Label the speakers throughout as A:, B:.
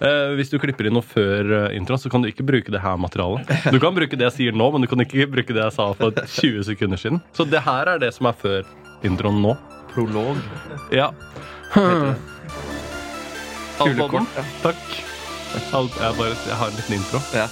A: Eh, hvis du klipper inn noe før eh, introen, så kan du ikke bruke det her materialet. Du kan bruke det jeg sier nå, men du kan ikke bruke det jeg sa for 20 sekunder siden. Så det her er det som er før introen nå.
B: Prolog.
A: Ja. Album.
B: Kulekort, ja.
A: Takk. Alt, jeg, bare, jeg har en liten intro.
B: Ja.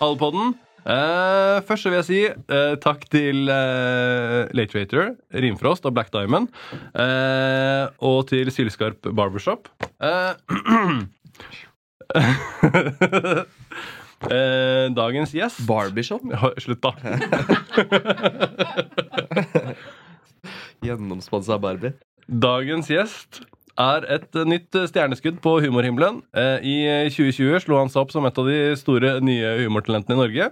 A: Alpodden. Eh, først så vil jeg si eh, takk til eh, Late Waiter, Rimfrost og Black Diamond. Eh, og til Sylskarp Barbershop. Eh, eh, dagens gjest
B: Barbershop.
A: Ja, Slutt, da.
B: Gjennomsponsa Barbie.
A: Dagens gjest er et eh, nytt eh, stjerneskudd på humorhimmelen. Eh, I eh, 2020 slo han seg opp som et av de store nye humortalentene i Norge.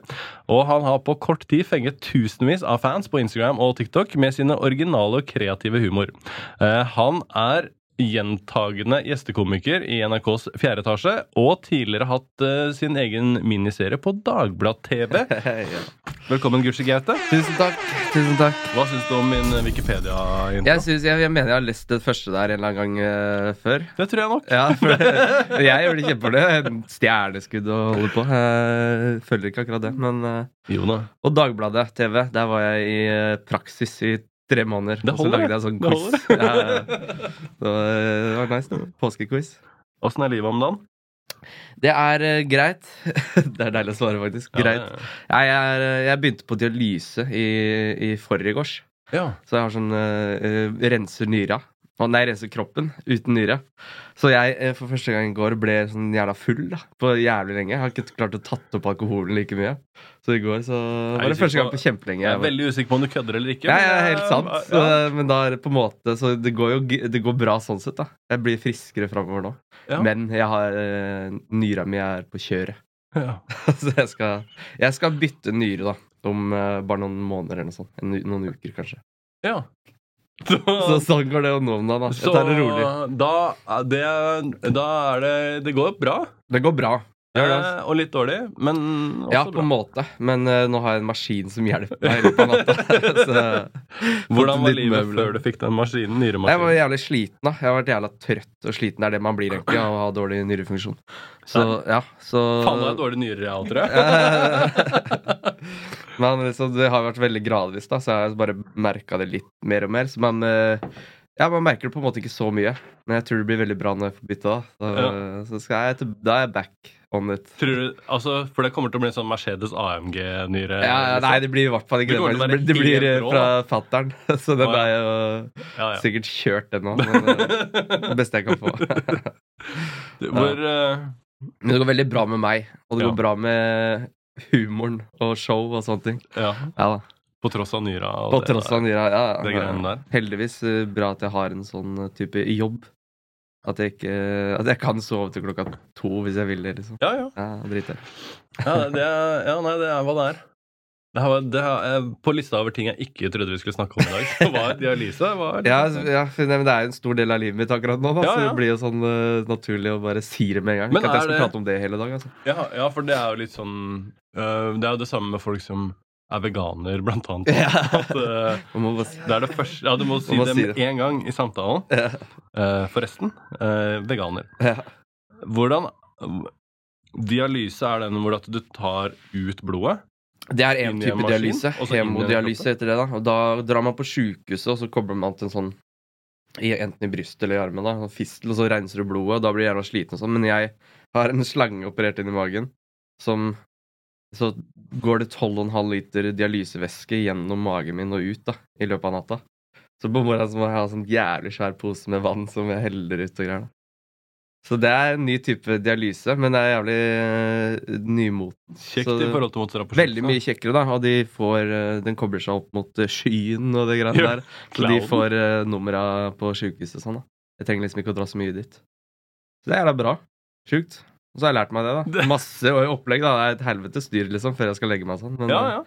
A: Og han har på kort tid fenget tusenvis av fans på Instagram og TikTok med sine originale og kreative humor. Eh, Han er gjentagende gjestekomiker i NRKs fjerde etasje, og tidligere hatt eh, sin egen miniserie på Dagblad-TV.
B: ja.
A: Velkommen, Gusje Gaute.
C: Tusen takk. tusen takk
A: Hva syns du om min eh, Wikipedia-intro?
C: jeg, synes, jeg, jeg mener jeg har lest det første der en eller annen gang eh, før.
A: Det tror jeg nok.
C: Ja, for Jeg blir kjempefornøyd. Stjerneskudd og holde på. Eh, følger ikke akkurat det, men eh.
A: Jo da.
C: Og Dagbladet TV. Der var jeg i eh, praksis i tre måneder.
A: Det
C: og så
A: holder,
C: lagde jeg sånn
A: det
C: quiz. Ja, ja. Så, eh, det var nice. det. Påskequiz.
A: Åssen er livet om dagen?
C: Det er eh, greit. det er deilig å svare, faktisk. Greit. Jeg, er, eh, jeg begynte på dialyse i, i forgårs.
A: Ja.
C: Så jeg har sånn eh, eh, renser nyra. Å, nei, renser kroppen uten nyre. Så jeg eh, for første gang i går ble sånn jævla full da, på jævlig lenge. Jeg har ikke klart å tatt opp alkoholen like mye. Så i går så
A: Er
C: var
A: du
C: det første
A: sikker
C: gang
A: på-
C: på kjempelenge.
A: Jeg
C: Jeg
A: er
C: var-
A: veldig usikker på om du kødder eller ikke.
C: ja,
A: men
C: ja,
A: jeg-
C: helt sant. Så,
A: Ja,
C: men da er det på en måte Så det går jo g- det går bra sånn sett, da. Jeg blir friskere framover nå.
A: Ja.
C: Men jeg har eh, nyra mi er på kjøret.
A: ja.
C: så Altså, jeg skal, jeg skal bytte nyre, da. Om eh, bare noen måneder eller noe sånt. En, noen uker, kanskje.
A: ja.
C: Så
A: Så, eh,
C: sånn går det jo nå om dagen. da. Jeg tar det rolig.
A: da, er det, da er det Det går bra.
C: Det går bra.
A: eh, og litt dårlig, men også
C: ja, på
A: bra.
C: en måte. Men eh, nå har jeg en maskin som hjelper meg i løpet av natta. så,
A: Hvordan var
C: Fått litt
A: livet
C: møbler.
A: før du fikk den maskinen?
C: jeg var
A: Nyremaskinen?
C: jævlig sliten. da Jeg har vært jævla trøtt og sliten. Det er det man blir egentlig av å ha dårlig nyrefunksjon. Så ja, så
A: Faen, det er dårlig nyrer, jeg, tror jeg.
C: Men liksom, det har vært veldig gradvis, da så jeg har bare merka det litt mer og mer. Så man eh, ja, man merker det på en måte ikke så mye, men jeg tror det blir veldig bra når jeg får bytta. Da, så, så skal jeg, til- da er jeg back on it.
A: Tror du, altså, for det kommer til å bli en sånn Mercedes AMG-nyre.
C: Ja, ja, nei, det blir i hvert fall
A: Det
C: ikke det.
A: kommer til å være
C: faktisk. Det blir, det
A: helt
C: blir
A: rå,
C: eh, fra fattern. Så den
A: Å, ja.
C: er jo
A: ja, ja.
C: sikkert kjørt, den òg. Men eh, det beste jeg kan få.
A: Du, Hvor eh,
C: Men det går veldig bra med meg, og det
A: Ja.
C: går bra med humoren og show og sånne ting.
A: Ja.
C: Ja da.
A: På tross av nyra. og
C: På
A: det
C: tross av nyra. Ja,
A: Det
C: ja.
A: greiene der.
C: Heldigvis eh, bra at jeg har en sånn eh, type jobb. At jeg, ikke, eh, at jeg kan sove til klokka to hvis jeg vil det, liksom.
A: Ja, ja.
C: Ja, drit i det.
A: Ja, det er, ja, nei, det er hva det er. Det her var, det her, eh, på lista over ting jeg ikke trodde vi skulle snakke om i dag, så var dialyse var sånn.
C: Ja, altså, ja, for- nei, men det er jo en stor del av livet mitt akkurat nå, da,
A: Ja,
C: så
A: ja.
C: det blir jo sånn eh, naturlig å bare si det med en gang.
A: Men
C: ikke at jeg
A: er
C: skal
A: det-
C: prate om det hele dag, altså.
A: ja, ja, for det er jo litt sånn øh, Det er jo det samme med folk som er veganer, blant annet. At, øh,
C: Man må bare si-
A: det er det første Ja, du må si
C: Man må
A: det
C: si
A: med
C: det.
A: én gang i samtalen.
C: Ja.
A: Eh, forresten, eh, veganer.
C: Ja.
A: Hvordan Dialyse er den hvor at du tar ut blodet?
C: Det er
A: Inn i
C: én
A: en
C: type
A: maskin,
C: dialyse.
A: og så inn i en
C: Hemodialyse heter det. Da Og da drar man på sjukehuset, og så kobler man til en sånn i, Enten i brystet eller i armen. da en Fistel, og så renser du blodet, og da blir du jævla sliten og sånn. Men jeg har en slange operert inn i magen som Så går det 12,5 liter dialysevæske gjennom magen min og ut da i løpet av natta. Så på morgenen så må jeg ha sånn jævlig svær pose med vann som jeg heller ut og greier. da Så det er en ny type dialyse, men det er jævlig eh, nymoten.
A: Kjekt
C: Så-
A: i forhold til å måtte dra på
C: Veldig mye
A: sjukehuset.
C: kjekkere, da. Og de får, eh, den kobler seg opp mot eh, skyen og det greiene
A: Ja,
C: der. Så de
A: clouden.
C: får eh, numra på sjukehuset og sånn, da. Jeg trenger liksom ikke å dra så mye dit. Så det er da bra. Sjukt. Og så har jeg lært meg det, da.
A: Det-
C: Masse opplegg, da. Det er et helvetes dyr, liksom, før jeg skal legge meg og sånn. Men
A: Ja, ja.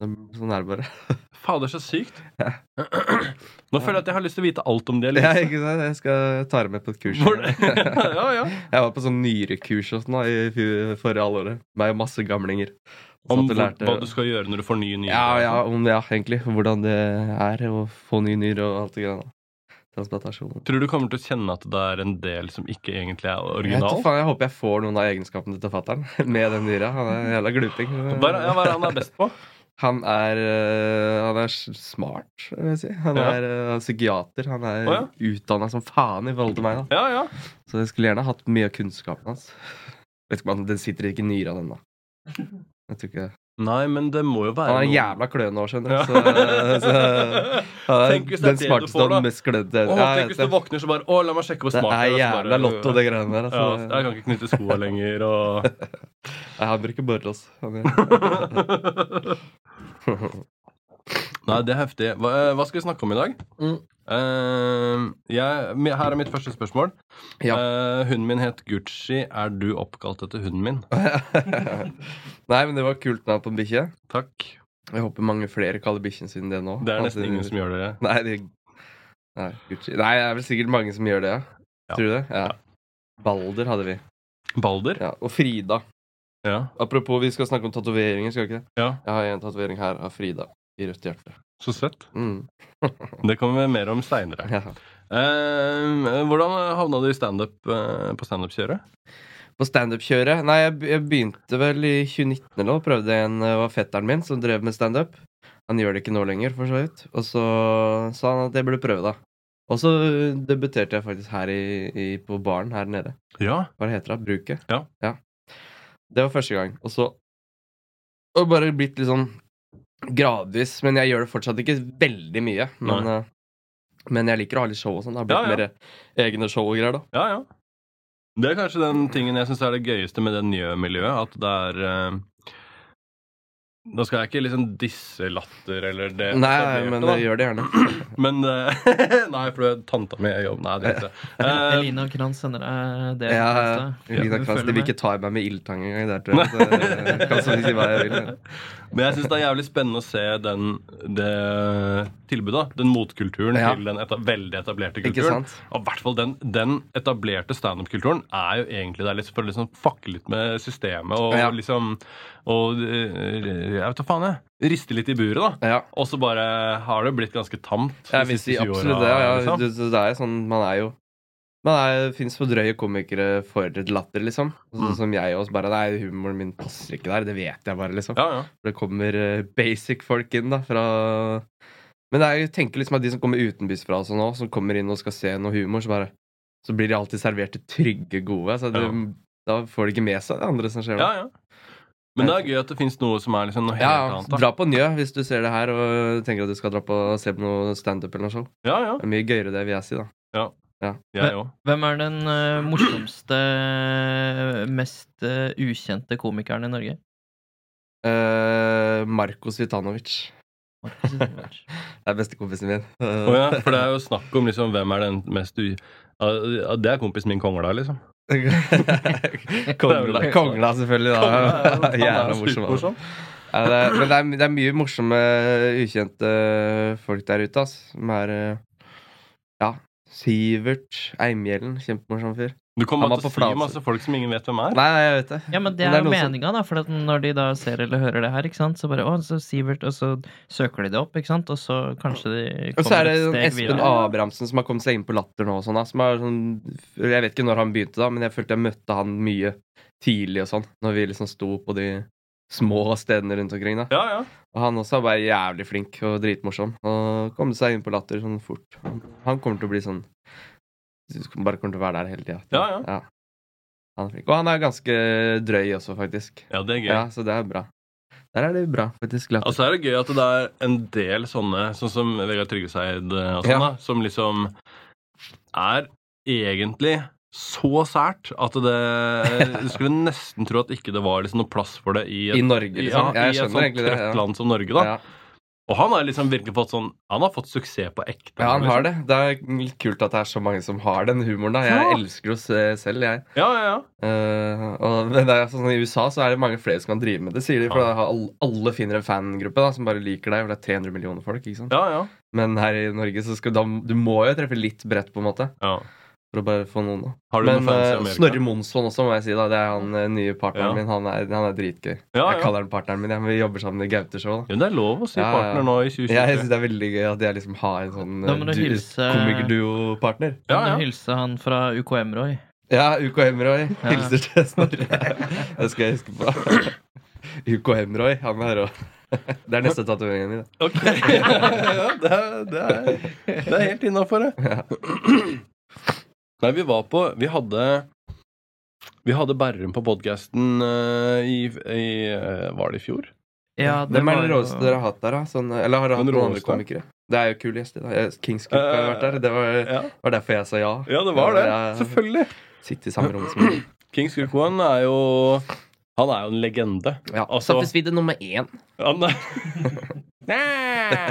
C: eh, sånn er det bare.
A: Fader, så sykt. Nå føler jeg at jeg har lyst til å vite alt om det.
C: Ja,
A: Liksom.
C: ikke sant? Jeg skal ta deg med på et kurs.
A: Hvor- ja, ja.
C: Jeg var på sånn nyrekurs og sånn da, i fj- forrige halvåret. Meg og masse gamlinger. Så
A: Om
C: at du
A: hvor,
C: lærte-
A: hva du skal gjøre når du får nye nyrer.
C: Ja, ja, om, ja, egentlig. Hvordan det er å få ny nyre og alt det greia. da. Transplantasjon.
A: Tror du kommer til å kjenne at det er en del som ikke egentlig er
C: Jeg, vet,
A: original?
C: ikke, faen, jeg håper jeg får noen av egenskapene til fatter'n med den nyra. Han er en jævla gluping.
A: Hva er, ja, hva er det han er best på?
C: Han er, øh, han er s- smart, vil jeg si. Han
A: Ja.
C: er øh, psykiater. Han er
A: Å, ja.
C: utdanna som faen i forhold til meg. da
A: Ja, ja.
C: Så jeg skulle gjerne hatt mye av kunnskapen hans. Vet ikke om han- Den sitter ikke i nyra, den, da. Jeg tror ikke det.
A: Nei, men det må jo være
C: Han er
A: noe-
C: jævla klønete nå, skjønner du.
A: Ja.
C: Så, eh, så, han er
A: Tenk hvis det er
C: den
A: det du
C: smarteste
A: får, da.
C: og mest klønete.
A: Åh,
C: Ja,
A: tenk
C: jeg vet
A: hvis du
C: det.
A: våkner så bare Å, la meg sjekke hvor
C: det
A: smart
C: er
A: jeg er. og så
C: jævla
A: bare-
C: lotto, det greiene der.
A: Ja, jeg
C: Altså.
A: kan ikke knytte skoa lenger og
C: Nei, han bruker borer, altså. Han gjør-
A: Nei, det er heftig. Hva, eh, hva skal vi snakke om i dag?
C: Mm.
A: Eh, jeg, mi- her er mitt første spørsmål.
C: Ja.
A: Eh, hunden min het Gucci. Er du oppkalt etter hunden min?
C: Nei, men det var kult navn på en bikkje.
A: Takk.
C: Jeg håper mange flere kaller bikkjen sin det nå.
A: Det er
C: Altså,
A: nesten ingen som gjør det.
C: Nei, det Nei, Gucci. Nei, det er vel sikkert mange som gjør det, ja.
A: Ja.
C: Tror du det? Ja. Balder hadde vi.
A: Balder?
C: Ja. Og Frida.
A: Ja.
C: Apropos, vi skal snakke om tatoveringer, skal vi ikke det?
A: ja.
C: Jeg har en tatovering her av Frida i rødt hjerte.
A: Så søtt.
C: Mm.
A: Det kommer vi mer om seinere.
C: Ja.
A: Eh, hvordan havna du i standup eh, på standup-kjøret?
C: På standup-kjøret Nei, jeg, be- jeg begynte vel i 2019 eller noe. Prøvde en det var fetteren min som drev med standup. Han gjør det ikke nå lenger, for så vidt. Og så sa han at jeg burde prøve, da. Og så eh, debuterte jeg faktisk her i, i, på baren her nede.
A: Ja.
C: Hva det heter det? Bruket?
A: Ja.
C: Det var første gang. Og så har det bare blitt litt sånn gradvis. Men jeg gjør det fortsatt ikke veldig mye. Men, eh, men jeg liker å ha litt show og sånn. Det har blitt
A: Ja, ja.
C: mer egne show og greier, da.
A: Ja, ja. Det er kanskje den tingen jeg syns er det gøyeste med det nye miljøet. At det er eh, Da skal jeg ikke liksom disse latter eller det
C: Nei,
A: etablerte,
C: men
A: da.
C: jeg gjør det gjerne.
A: Men, eh, Nei, for det er tanta mi i jobb. Nei, det er ikke det. Eh,
B: Elina Kranz sender deg det.
C: Ja,
B: neste.
C: Lina
B: Følger
C: Kranz, de vil
B: med.
C: ikke ta i meg med ildtang engang der, tror jeg. Så jeg kan så si hva jeg vil.
A: Eh, Men jeg syns det er jævlig spennende å se den, det tilbudet. Den motkulturen
C: Ja.
A: til den eta veldig etablerte
C: Ikke
A: kulturen.
C: sant?
A: Og i hvert fall den, den etablerte standup-kulturen er jo egentlig der liksom, for å liksom fucke litt med systemet og
C: Ja. liksom-
A: liksom Og eh, jeg vet da faen, jeg. Riste litt i buret, da.
C: Ja.
A: Og så bare har det blitt ganske tamt.
C: Jeg vil si absolutt det. Ja,
A: liksom.
C: ja. Det, det er jo sånn, man er jo Man er, finnes for drøye komikere for et latter, liksom. Sånn
A: Mm.
C: som jeg også bare Nei, humoren min passer ikke der. Det vet jeg bare, liksom.
A: Ja, ja.
C: For det kommer eh, basic folk inn, da, fra Men det er, jeg tenker liksom at de som kommer utenbys fra og sånn også, som kommer inn og skal se noe humor, så bare Så blir de alltid servert det trygge, gode. Så det,
A: Ja.
C: da får de ikke med seg det andre som skjer.
A: ja,
C: da.
A: ja. Men det er gøy at det fins noe som er liksom noe helt
C: Ja,
A: annet. Da.
C: dra på Njø hvis du ser det her og tenker at du skal dra på se på noe standup eller noe show.
A: Ja, ja.
C: Det er mye gøyere det, vil jeg si, da.
A: Jeg òg.
B: Hvem er den eh, morsomste, mest eh, ukjente komikeren i Norge?
C: Eh, Markus Vitanovic.
B: Markus Ivanovic.
C: Det er bestekompisen min. Eh,
A: Å ja, for det er jo snakk om liksom hvem er den mest u... Ja, ja, Det er kompisen min kongla, liksom.
C: Kongla, Kongla, selvfølgelig. da
A: Han er
C: Jævla morsom. altså.
A: supermorsom.
C: Ja, det er, men det er, det er mye morsomme, ukjente eh, folk der ute, ass. Som er eh, Ja. Sivert Eimhjellen. Kjempemorsom fyr.
A: Du kommer
C: Han
A: bare
C: var
A: til å
C: på
A: si
C: Fladseth.
A: masse folk som ingen vet hvem er.
C: Nei, nei, jeg vet det.
B: Ja, men det
C: Men
B: er jo
C: noe som-
B: meninga, da. For at når de da ser eller hører det her, ikke sant, så bare Å, så Sivert, og så søker de det opp, ikke sant, og så kanskje de
C: Og så er
B: kommer
C: det
B: et
C: sånn
B: steg
C: Espen
B: videre.
C: Abrahamsen som har kommet seg inn på Latter nå. Og sånn, da, som er sånn, jeg vet ikke når han begynte, da, men jeg følte jeg møtte han mye tidlig og sånn. Når vi liksom sto på de små stedene rundt omkring. da
A: Ja, ja.
C: Og han også er bare jævlig flink og dritmorsom. Og kom seg inn på Latter sånn fort. Han kommer til å bli sånn Bare kommer til å være der hele tida.
A: Ja, ja.
C: Han er flink. Og han er ganske drøy også, faktisk.
A: ja det er gøy.
C: Ja, Så det er bra. Der er det bra, faktisk. Latter.
A: Og så er det gøy at det er en del sånne, sånn som Vegard Tryggeseid og sånn,
C: Ja.
A: da, som liksom er egentlig så sært at det Du skulle nesten tro at ikke det var liksom noe plass for det i et,
C: I Norge, liksom.
A: ja,
C: jeg
A: i et
C: skjønner
A: sånt
C: egentlig det.
A: trøtt
C: Ja.
A: land som Norge, da.
C: Ja.
A: Og han har liksom virkelig fått sånn Han har fått suksess på ekte.
C: Ja, han
A: liksom.
C: har det. Det er litt kult at det er så mange som har den humoren. da Jeg
A: Ja.
C: elsker jo se selv, jeg.
A: Ja, ja, ja.
C: Eh, og men det er, sånn, I USA så er det mange flere som kan drive med det, sier de. For
A: Ja.
C: da har alle, alle finner en fangruppe da, som bare liker deg, for det er 300 millioner folk. ikke sant?
A: Ja, ja.
C: Men her i Norge så skal da, du må jo treffe litt bredt, på en måte.
A: ja.
C: For å bare få noen, da.
A: Har du
C: Men
A: noen fans i
C: eh,
A: Amerika?
C: Snorre Monsson også, må jeg si. da Det er han eh, nye
A: Ja.
C: partneren min. Han er, han er dritgøy.
A: Ja,
C: Jeg
A: ja.
C: kaller han partneren min. Ja, men vi jobber sammen i Gauteshow. da.
A: Jo, det er lov å si
C: Ja, ja.
A: partner nå i
C: Jeg, jeg
A: 2023.
C: syns det er veldig gøy at jeg liksom har en sånn
B: Da må
C: eh,
B: du
C: du-
B: hilse-
C: komikerduo-partner.
A: Ja,
B: Kan du
A: ja.
B: hilse han fra UKM, Roy?
C: Ja, UKM-Roy.
B: Ja.
C: Hilser til Snorre. Det skal jeg huske på. UKM-Roy, han er rå. Det er neste tatoveringen min. da.
A: Ok. ja, det, er, det, er, det er helt innafor, det. Nei, vi var på Vi hadde vi hadde Berrum på podkasten i, i eh, Var det i fjor?
B: Ja,
C: Hvem er
B: var
C: den
B: jo-
C: råeste dere har hatt der, da? Sånn, eller har dere hatt
A: Den
C: noen andre
A: råeste?
C: komikere? Det er jo kule gjester. da. Kings Group har jo vært der. Det var,
A: Ja,
C: var derfor jeg sa ja.
A: ja det var det.
C: Ja, ja.
A: Selvfølgelig.
C: Sitte i samme rom som dem.
A: Kings Gukwan er jo Han er jo en legende.
C: Ja,
A: altså-
C: Samtidsvidde nummer én.
A: Han,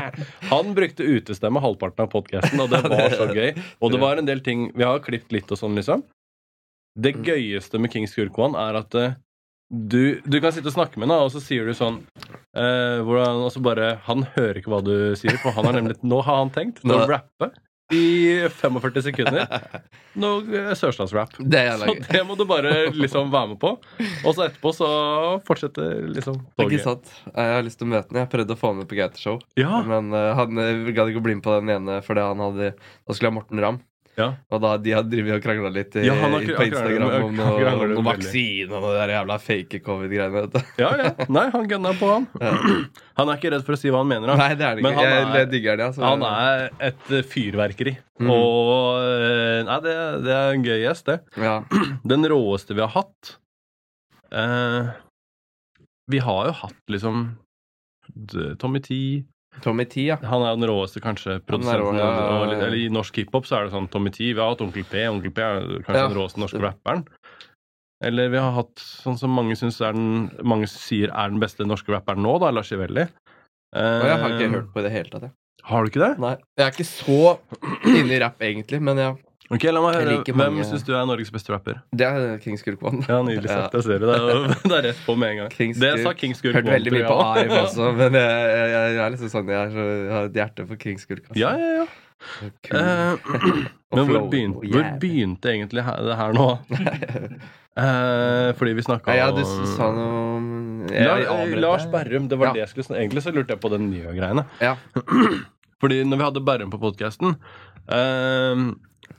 A: han brukte utestemme halvparten av podkasten, og det var så gøy. Og det var en del ting Vi har klippet litt og sånn, liksom. Det gøyeste med Kings Kurkoan er at eh, du, du kan sitte og snakke med henne, og så sier du sånn eh, hvordan, Og så bare Han hører ikke hva du sier, for han har nemlig Nå har han tenkt til å
C: Nå-
A: rappe i 45 sekunder. Noe eh, sørstatsrap.
C: Det er
A: Så
C: laget.
A: det må du bare liksom være med på. Og så etterpå så fortsetter liksom
C: Ikke
A: toget.
C: sant? Jeg har lyst til å møte ham. Jeg prøvde å få ham med på Gauteshow.
A: Ja,
C: Men eh, han eh, gadd ikke å bli med på den ene, fordi han hadde Da skulle jeg ha Morten Ramm.
A: Ja.
C: Og da de hadde drevet og krangla litt i,
A: Ja, han har
C: i-
A: kr-
C: på
A: han krangler
C: Instagram
A: med-
C: om
A: han
C: noe,
A: krangler
C: noe
A: veldig.
C: vaksine og de jævla fake covid-greiene. vet du.
A: Ja, ja. Nei, han gønna på, han. Han er ikke redd for å si hva han mener. Han,
C: Nei, det er det
A: Men
C: ikke. Jeg,
A: han er-
C: jeg digger det. Altså.
A: han er et eh, fyrverkeri.
C: Mhm.
A: Og eh, Nei, det, det er en gøy gjest, det.
C: ja.
A: Den råeste vi har hatt eh, Vi har jo hatt liksom d- Tommy T.
C: Tommy T, ja.
A: Han er den råeste, kanskje, produsenten.
C: rå, ja, ja, ja.
A: og litt- Eller i norsk hiphop så er det sånn Tommy T. Vi har hatt Onkel P. Onkel P er kanskje
C: Ja.
A: den råeste norske rapperen. Eller vi har hatt sånn som mange, synes er den, mange sier er den beste norske rapperen nå, da, Lars Ivelli.
C: Og jeg har ikke
A: Eh.
C: hørt på i det hele tatt. Jeg.
A: Har du ikke det?
C: Nei. Jeg er ikke så inne i rapp, egentlig, men ja.
A: Ok, la meg
C: Jeg
A: høre.
C: liker
A: Hvem
C: mange-
A: syns du er Norges beste rapper?
C: Det er Kings Group One.
A: Ja, Nydelig
C: Ja.
A: sagt. Jeg ser det. Det er, jo- det er rett på med en gang.
C: Kings
A: det
C: Group.
A: sa King Skurk
C: Hørte veldig mye på
A: tror jeg.
C: Arif også, men jeg, jeg, jeg, jeg er liksom sånn Jeg, er så, jeg har et hjerte for Kings Group. altså.
A: Ja, ja, ja.
C: Kul.
A: Eh,
C: Og
A: men hvor
C: flow,
A: begynte,
C: og
A: hvor
C: jævlig.
A: begynte egentlig her, det her nå? Eh, fordi vi snakka
C: Ja, ja, du s- sa noe om jeg-
A: La, eh,
C: jeg avbrøt deg.
A: Lars Berrum. Det var
C: Ja.
A: det jeg skulle snakke Egentlig så lurte jeg på den nye greiene.
C: Ja.
A: Fordi når vi hadde Berrum på podkasten,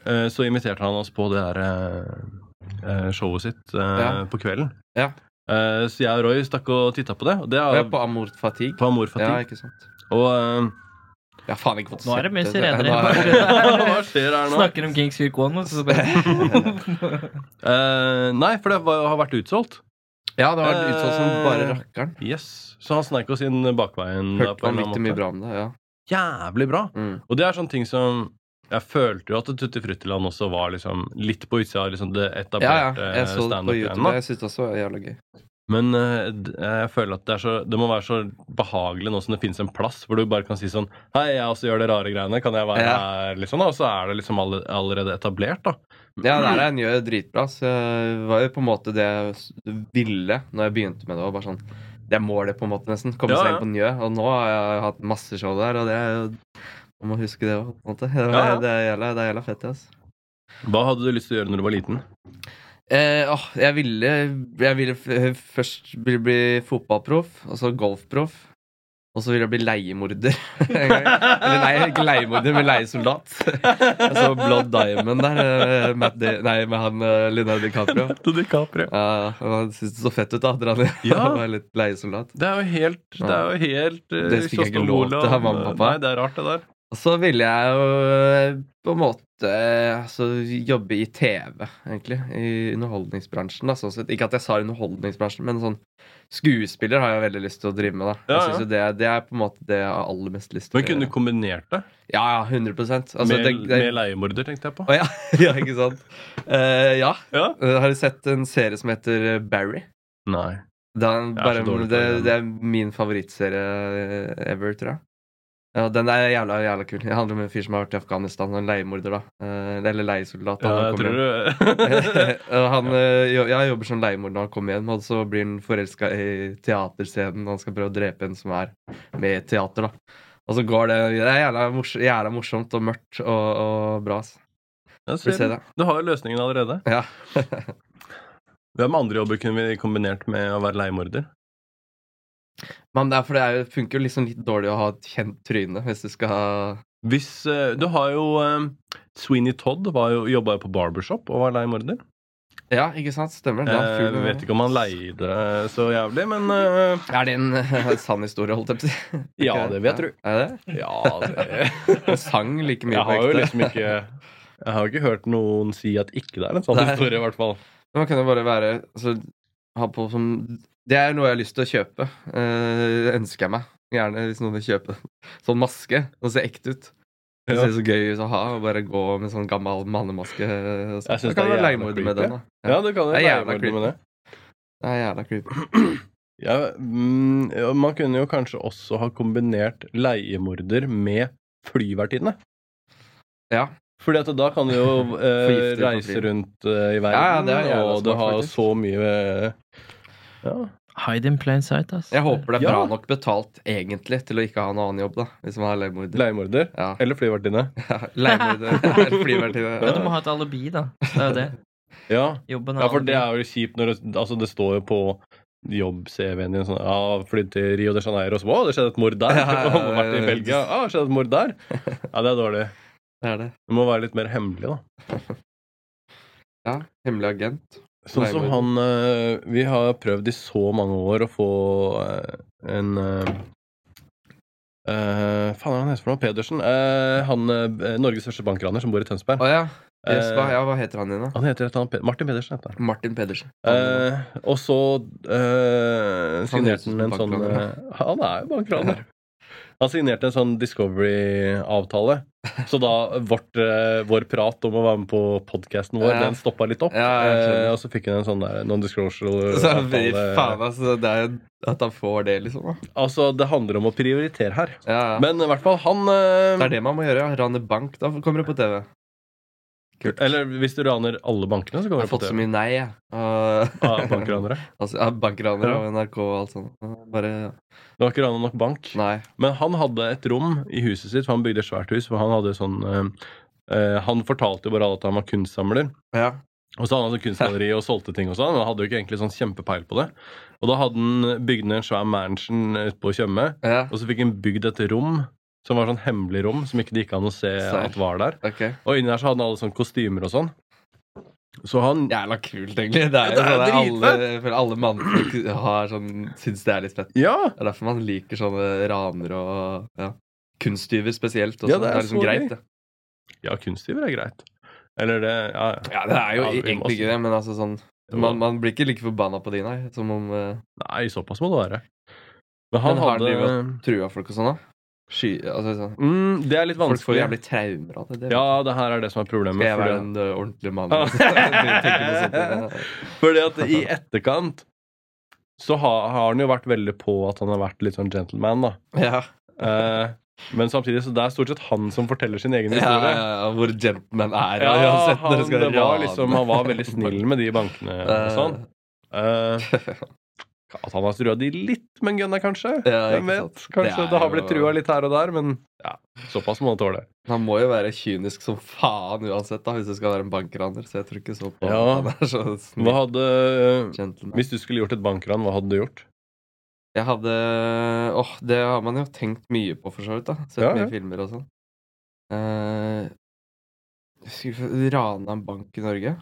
A: så inviterte han oss på det der eh, eh, showet sitt eh,
C: Ja.
A: på kvelden.
C: Ja.
A: Eh, så jeg og Roy stakk og titta på det. Og det
C: Og
A: er
C: jeg er på Amort Fatigue.
A: på Amor
C: Ja,
A: Fatigue.
C: ikke sant.
A: Og eh,
C: Jeg har faen ikke fått
B: Nå er det mye
C: sett
B: sirener
C: Nå
B: i
C: er-
A: Hva
B: bakgrunnen.
A: skjer her nå?
B: Snakker om Kings Kirk One, og så bare
A: Eh, nei, for det var, har vært utsolgt.
C: Ja, det har vært utsolgt som bare
A: Eh,
C: rakkeren.
A: Yes. Så han sneik oss inn bakveien. der
C: Hørte
A: på en eller
C: vanvittig
A: annen
C: mye
A: måte.
C: bra om det. ja.
A: Jævlig bra.
C: Mm.
A: Og det er sånne ting som Jeg følte jo at Tutti Fruttiland også var liksom litt på eh, utsida av liksom det
C: Ja,
A: etablerte
C: ja. Jeg så det på YouTube.
A: standup-greiene.
C: Jeg syntes også det var jævla gøy.
A: Men eh, d- jeg føler at det, er så, det må være så behagelig nå som det fins en plass hvor du bare kan si sånn Hei, jeg også gjør det rare greiene. Kan jeg være
C: Ja.
A: her? Liksom, da? Og så er det liksom alle, allerede etablert, da.
C: Ja, det her er gjør det dritbra. Så det var jo på en måte det jeg s- ville når jeg begynte med det. Og bare sånn, det er målet, på en måte, nesten. Komme
A: Ja,
C: seg
A: ja.
C: inn på Njø. Og nå har jeg hatt masse show der, og det er jo Man må huske det òg, på en måte. Det,
A: Ja, ja.
C: det er jævla, det er jævla fett, altså.
A: Hva hadde du lyst til å gjøre når du var liten?
C: Eh, åh, jeg ville, jeg ville f eh, først bli, bli fotballproff, og så golfproff. Og så ville jeg bli leiemorder. en gang. Eller nei, ikke leiemorder, men leiesoldat. Jeg så Blood Diamond der, eh, Matt Da- nei, med han eh, Leonardo DiCaprio.
A: DiCaprio.
C: Ja, han syntes det så fett ut, da. Dra ned
A: Ja.
C: og være litt leiesoldat.
A: Det er jo helt Det er jo helt eh,
C: Det fikk jeg ikke lov til
A: Sosnomola.
C: av mamma og pappa.
A: Nei, det er rart, det der.
C: Og så ville jeg jo eh, på en måte eh, altså, jobbe i TV, egentlig. I underholdningsbransjen. Da, sånn sett. Ikke at jeg sa underholdningsbransjen, men sånn skuespiller har jeg veldig lyst til å drive med. Da.
A: Ja,
C: Jeg synes jo det, det er på en måte det jeg har aller mest lyst til.
A: Men kunne du kombinert det
C: Ja, ja, 100 altså,
A: med,
C: det, det,
A: med leiemorder, tenkte jeg på?
C: Å, ja. ja, ikke sant? Eh, ja.
A: Ja.
C: Eh, Har du sett en serie som heter eh, Barry?
A: Nei.
C: Det er,
A: Jeg er
C: bare,
A: så dårlig på
C: det,
A: det.
C: det er min favorittserie ever, tror jeg. Ja, Den er jævla, jævla kul. Det handler om en fyr som har vært i Afghanistan. En leiemorder, da. Eh, Eller leiesoldat. da,
A: Ja,
C: når han
A: jeg
C: kommer hjem.
A: tror du
C: Og han, eh, jo- jeg jobber som leiemorder når han kommer hjem, og så blir han forelska i teaterscenen. Han skal prøve å drepe en som er med i teater, da. Og så går det Det er jævla, mors jævla morsomt og mørkt og, og bra. ass.
A: Jeg
C: Får du se
A: ser det.
C: det?
A: Du har jo løsningen allerede.
C: Ja.
A: Hvem andre jobber kunne vi kombinert med å være leiemorder?
C: Men det er for det er, jo- funker jo liksom litt dårlig å ha et kjent tryne hvis du skal ha
A: Hvis, eh, du har jo eh, Sweeney Todd var jo, jobba jo på barbershop og var leiemorder.
C: Ja, ikke sant? Stemmer. det
A: Eh,
C: er
A: vi
C: full-
A: vet ikke om han leide så jævlig, men eh,
C: Er det en eh, sann historie, holdt jeg på å si?
A: Ja, det vil jeg
C: Ja,
A: tro.
C: Er det?
A: Ja, det
C: Han sang like mye
A: Jeg har
C: på
A: jo
C: ekte.
A: liksom ikke Jeg har jo ikke hørt noen si at ikke det er en sånn
C: Nei.
A: historie, i hvert fall.
C: Men man kan jo bare være altså, ha på som, Det er noe jeg har lyst til å kjøpe. Eh, ønsker jeg meg. Gjerne hvis noen vil kjøpe sånn maske. Som ser ekte ut. Det
A: Ja.
C: ser så gøy ut å ha. Og bare gå med sånn gammel mannemaske. og så-
A: Jeg synes det er
C: Da kan du være
A: jævla
C: leiemorder med
A: creepy.
C: den. da
A: Ja, du kan jo
C: Det er jævla
A: leie bort med det.
C: Det er jævla creepy.
A: Ja, mm, ja, man kunne jo kanskje også ha kombinert leiemorder med flyvertinne.
C: Ja.
A: Fordi at da kan du jo eh,
C: Forgifte på
A: reise
C: fly.
A: rundt eh, i
C: Ja, ja,
A: verden,
C: det er jævla
A: og du
C: smart,
A: har
C: faktisk.
A: så mye eh, ja.
B: Hide in plain sight, ass.
C: Jeg håper det er
A: Ja.
C: bra nok betalt egentlig til å ikke ha noen annen jobb, da. Hvis man er leiemorder.
A: Leiemorder
C: Ja.
A: eller flyvertinne.
C: Leiemorder er flyvertinne.
B: Men du må ha et alibi, da. Det er jo det.
A: Ja.
B: Jobben
A: ja, for det er jo kjipt når det, altså det står jo på jobb-CV-en din sånn Ja, flydd til Rio de Janeiro, og så Å, det skjedde et mord der!
C: Ja, ja, ja,
A: Og vært i
C: ja.
A: Belgia. Å, det skjedde et mord der! Ja, det er dårlig.
C: Det er det.
A: Det må være litt mer hemmelig, da.
C: Ja. Hemmelig agent.
A: Sånn som han eh, Vi har prøvd i så mange år å få eh, en eh, eh, Faen, hva er han heter for noe? Pedersen? Eh, han eh, Norges største bankraner som bor i Tønsberg.
C: Å ja. Yes,
A: Eh,
C: hva, ja. Hva heter han din, da?
A: Han heter et eller annet Pe- Martin Pedersen heter han.
C: Martin Pedersen.
A: Eh, og så eh, signerte
C: Han
A: han en
C: er jo
A: sånn
C: bankraner.
A: eh, Han er jo bankraner. Han signerte en sånn Discovery-avtale. Så da vårt, eh, vår prat om å være med på podkasten vår,
C: Ja.
A: den stoppa litt opp.
C: Ja, jeg skjønner.
A: Eh, og så fikk hun en sånn der
C: Så jeg blir- faen,
A: non-disclosure-avtale.
C: altså. Det er jo at han får det, liksom. Da.
A: Altså, det handler om å prioritere her.
C: Ja, ja.
A: Men i hvert fall, han eh,
C: det er det man må gjøre. ja. Rane bank. Da kommer det på TV. Kult.
A: Eller hvis du raner alle bankene, så
C: jeg
A: kommer
C: har
A: det på
C: fått så
A: TV.
C: mye nei, jeg. Og-
A: Av bankranere.
C: altså, ja, Bankranere
A: Ah, Ja.
C: og NRK og alt sånt. Bare
A: Du har ikke rana nok bank.
C: Nei.
A: Men han hadde et rom i huset sitt, for han bygde et svært hus. For han hadde sånn eh, eh, Han fortalte jo bare alle at han var kunstsamler.
C: Ja.
A: Og så hadde han sånn kunstgalleri og solgte ting og sånn. men Han hadde jo ikke egentlig sånn kjempepeil på det. Og da hadde han bygd ned en svær mansion ute på Tjøme,
C: ja.
A: og så fikk han bygd et rom som var sånn hemmelig rom som ikke det gikk an å se
C: Serr.
A: at var der.
C: Ok.
A: Og inni der så hadde han alle sånne kostymer og sånn. Så han
C: Jævla kult, egentlig. Det er jo
A: Det er
C: sånn at
A: dritfett.
C: alle, for alle mannfolk har sånn Syns det er litt fett.
A: Ja!
C: Det er derfor man liker sånne ranere og ja. kunsttyver spesielt. Også.
A: Ja,
C: det er, liksom
A: så
C: greit,
A: gøy.
C: det.
A: Ja, kunstgiver er greit. Eller det Ja, ja.
C: Ja, det er jo
A: Ja, vi må
C: egentlig ikke det, men altså sånn
A: Jo.
C: man, man blir ikke like forbanna på de, nei, som om eh,
A: Nei, såpass må det være. Men han
C: Men har han
A: hadde
C: trua folk og sånn, da? Sky, altså, sånn.
A: mm, Det er litt
C: Folk får
A: vanskelig.
C: jævlig traumer av det. det vet
A: Ja,
C: jeg.
A: det her er det som er problemet.
C: Skal jeg
A: fordi
C: være
A: at-
C: en ø, ordentlig mann?
A: Ah. sånn
C: Tenker på sånt,
A: Fordi at i etterkant så har, har han jo vært veldig på at han har vært litt sånn gentleman, da.
C: ja.
A: Eh, men samtidig så det er stort sett han som forteller sin egen
C: Ja, ja,
A: historie. Ja,
C: ja, hvor gentleman er jeg, uansett når
A: han,
C: du skal Eh.
A: det var
C: rane.
A: liksom, han var veldig snill med de bankene og sånn. Eh, at han har trua de litt, men gunna kanskje?
C: Eh, ja,
A: Hvem
C: ikke
A: vet?
C: sant.
A: Kanskje
C: er
A: det, har blitt
C: jo-
A: trua litt her og der, men ja, såpass må han tåle.
C: Han må jo være kynisk som faen uansett, da, hvis du skal være en bankraner. Så jeg tror ikke så på
A: Ja.
C: at han er så snill.
A: Hva hadde
C: gentleman.
A: Hvis du skulle gjort et bankran, hva hadde du gjort?
C: Jeg hadde Åh, det har man jo tenkt mye på, for så vidt. da Sett
A: Ja, ja.
C: mye filmer og sånn. Eh, skulle vi få- Rana en bank i Norge?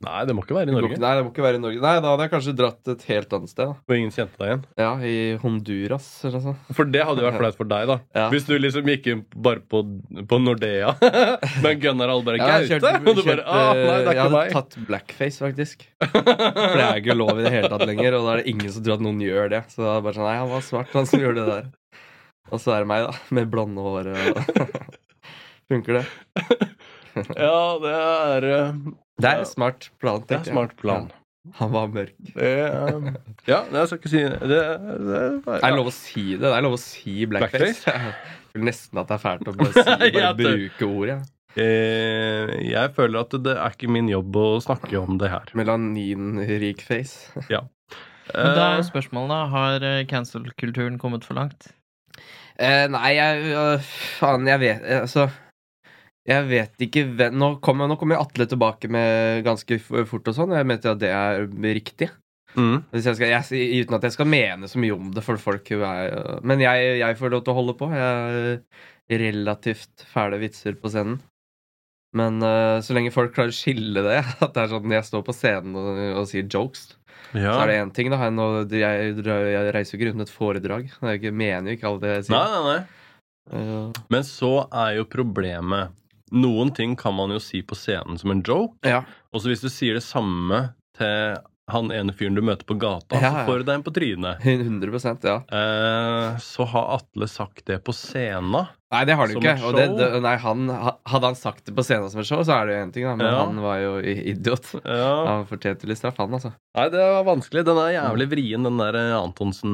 A: Nei, det må ikke være i
C: Det går
A: Norge.
C: ikke- Nei, det må ikke være i Norge. Nei, da hadde jeg kanskje dratt et helt annet sted. da.
A: Og ingen kjente deg igjen.
C: Ja, i Honduras eller noe sånt.
A: For det hadde jo vært flaut for deg, da.
C: Ja.
A: Hvis du liksom gikk inn bare på, på Nordea, men gunner alle bare
C: Ja,
A: Gaute!
C: jeg kjørte-
A: og du bare
C: kjørte-
A: ah, Nei, det er
C: jeg
A: ikke
C: hadde
A: meg.
C: tatt blackface, faktisk. For det er jo ikke lov i det hele tatt lenger, og da er det ingen som tror at noen gjør det. Så det er bare sånn Nei, han var svart, han som gjorde det der. Og så er det meg, da. Med blonde hår og Funker det?
A: Ja, det er eh,
C: Det er
A: Ja.
C: en smart plan,
A: Det er
C: tenker jeg.
A: smart plan.
C: Han var mørk.
A: Det, um, ja, nei, jeg skal ikke si det. det er bare-
C: Det er lov å si det. Det er lov å si blackface.
A: Blackface?
C: Jeg føler nesten at det er fælt å bare, si, bare
A: Ja, det-
C: bruke ordet. Ja.
A: Eh, jeg føler at det er ikke min jobb å snakke om det her.
C: Melaninrik face.
B: Men da er
A: Eh,
B: spørsmålet, da. Har eh, cancel-kulturen kommet for langt?
C: Eh, nei, jeg øh, Faen, jeg vet eh, Altså jeg vet ikke hvem Nå kommer nå kommer Atle tilbake med ganske f- fort og sånn. og Jeg mente at det er riktig.
A: mm,
C: Hvis jeg skal, jeg, uten at jeg skal mene så mye om det for folk jo er, Men jeg, jeg får lov til å holde på. Jeg har relativt fæle vitser på scenen. Men eh, så lenge folk klarer å skille det, at det er sånn jeg står på scenen og, og sier jokes, så
A: ja.
C: er det én ting. da Nå, jeg, dra- jeg reiser jo ikke rundt med et foredrag. Jeg ikke- mener jo ikke alt det jeg
A: Nei,
C: sier.
A: nei, nei.
C: Eh,
A: Men så er jo problemet Noen ting kan man jo si på scenen som en joke.
C: ja.
A: Og så hvis du sier det samme til han ene fyren du møter på gata,
C: Ja,
A: så
C: ja.
A: får du deg en på trynet.
C: 100 ja.
A: Eh, så har Atle sagt det på scenen.
C: Nei, det har han jo
A: Som
C: ikke.
A: et
C: Og det,
A: show?
C: det, nei, han, hadde han sagt det på scenen som et show, så er det jo én ting, da. Men
A: Ja.
C: han var jo i- idiot.
A: Ja.
C: Han fortjente litt straff, han, altså.
A: Nei, det var vanskelig. Den er jævlig vrien, den der eh,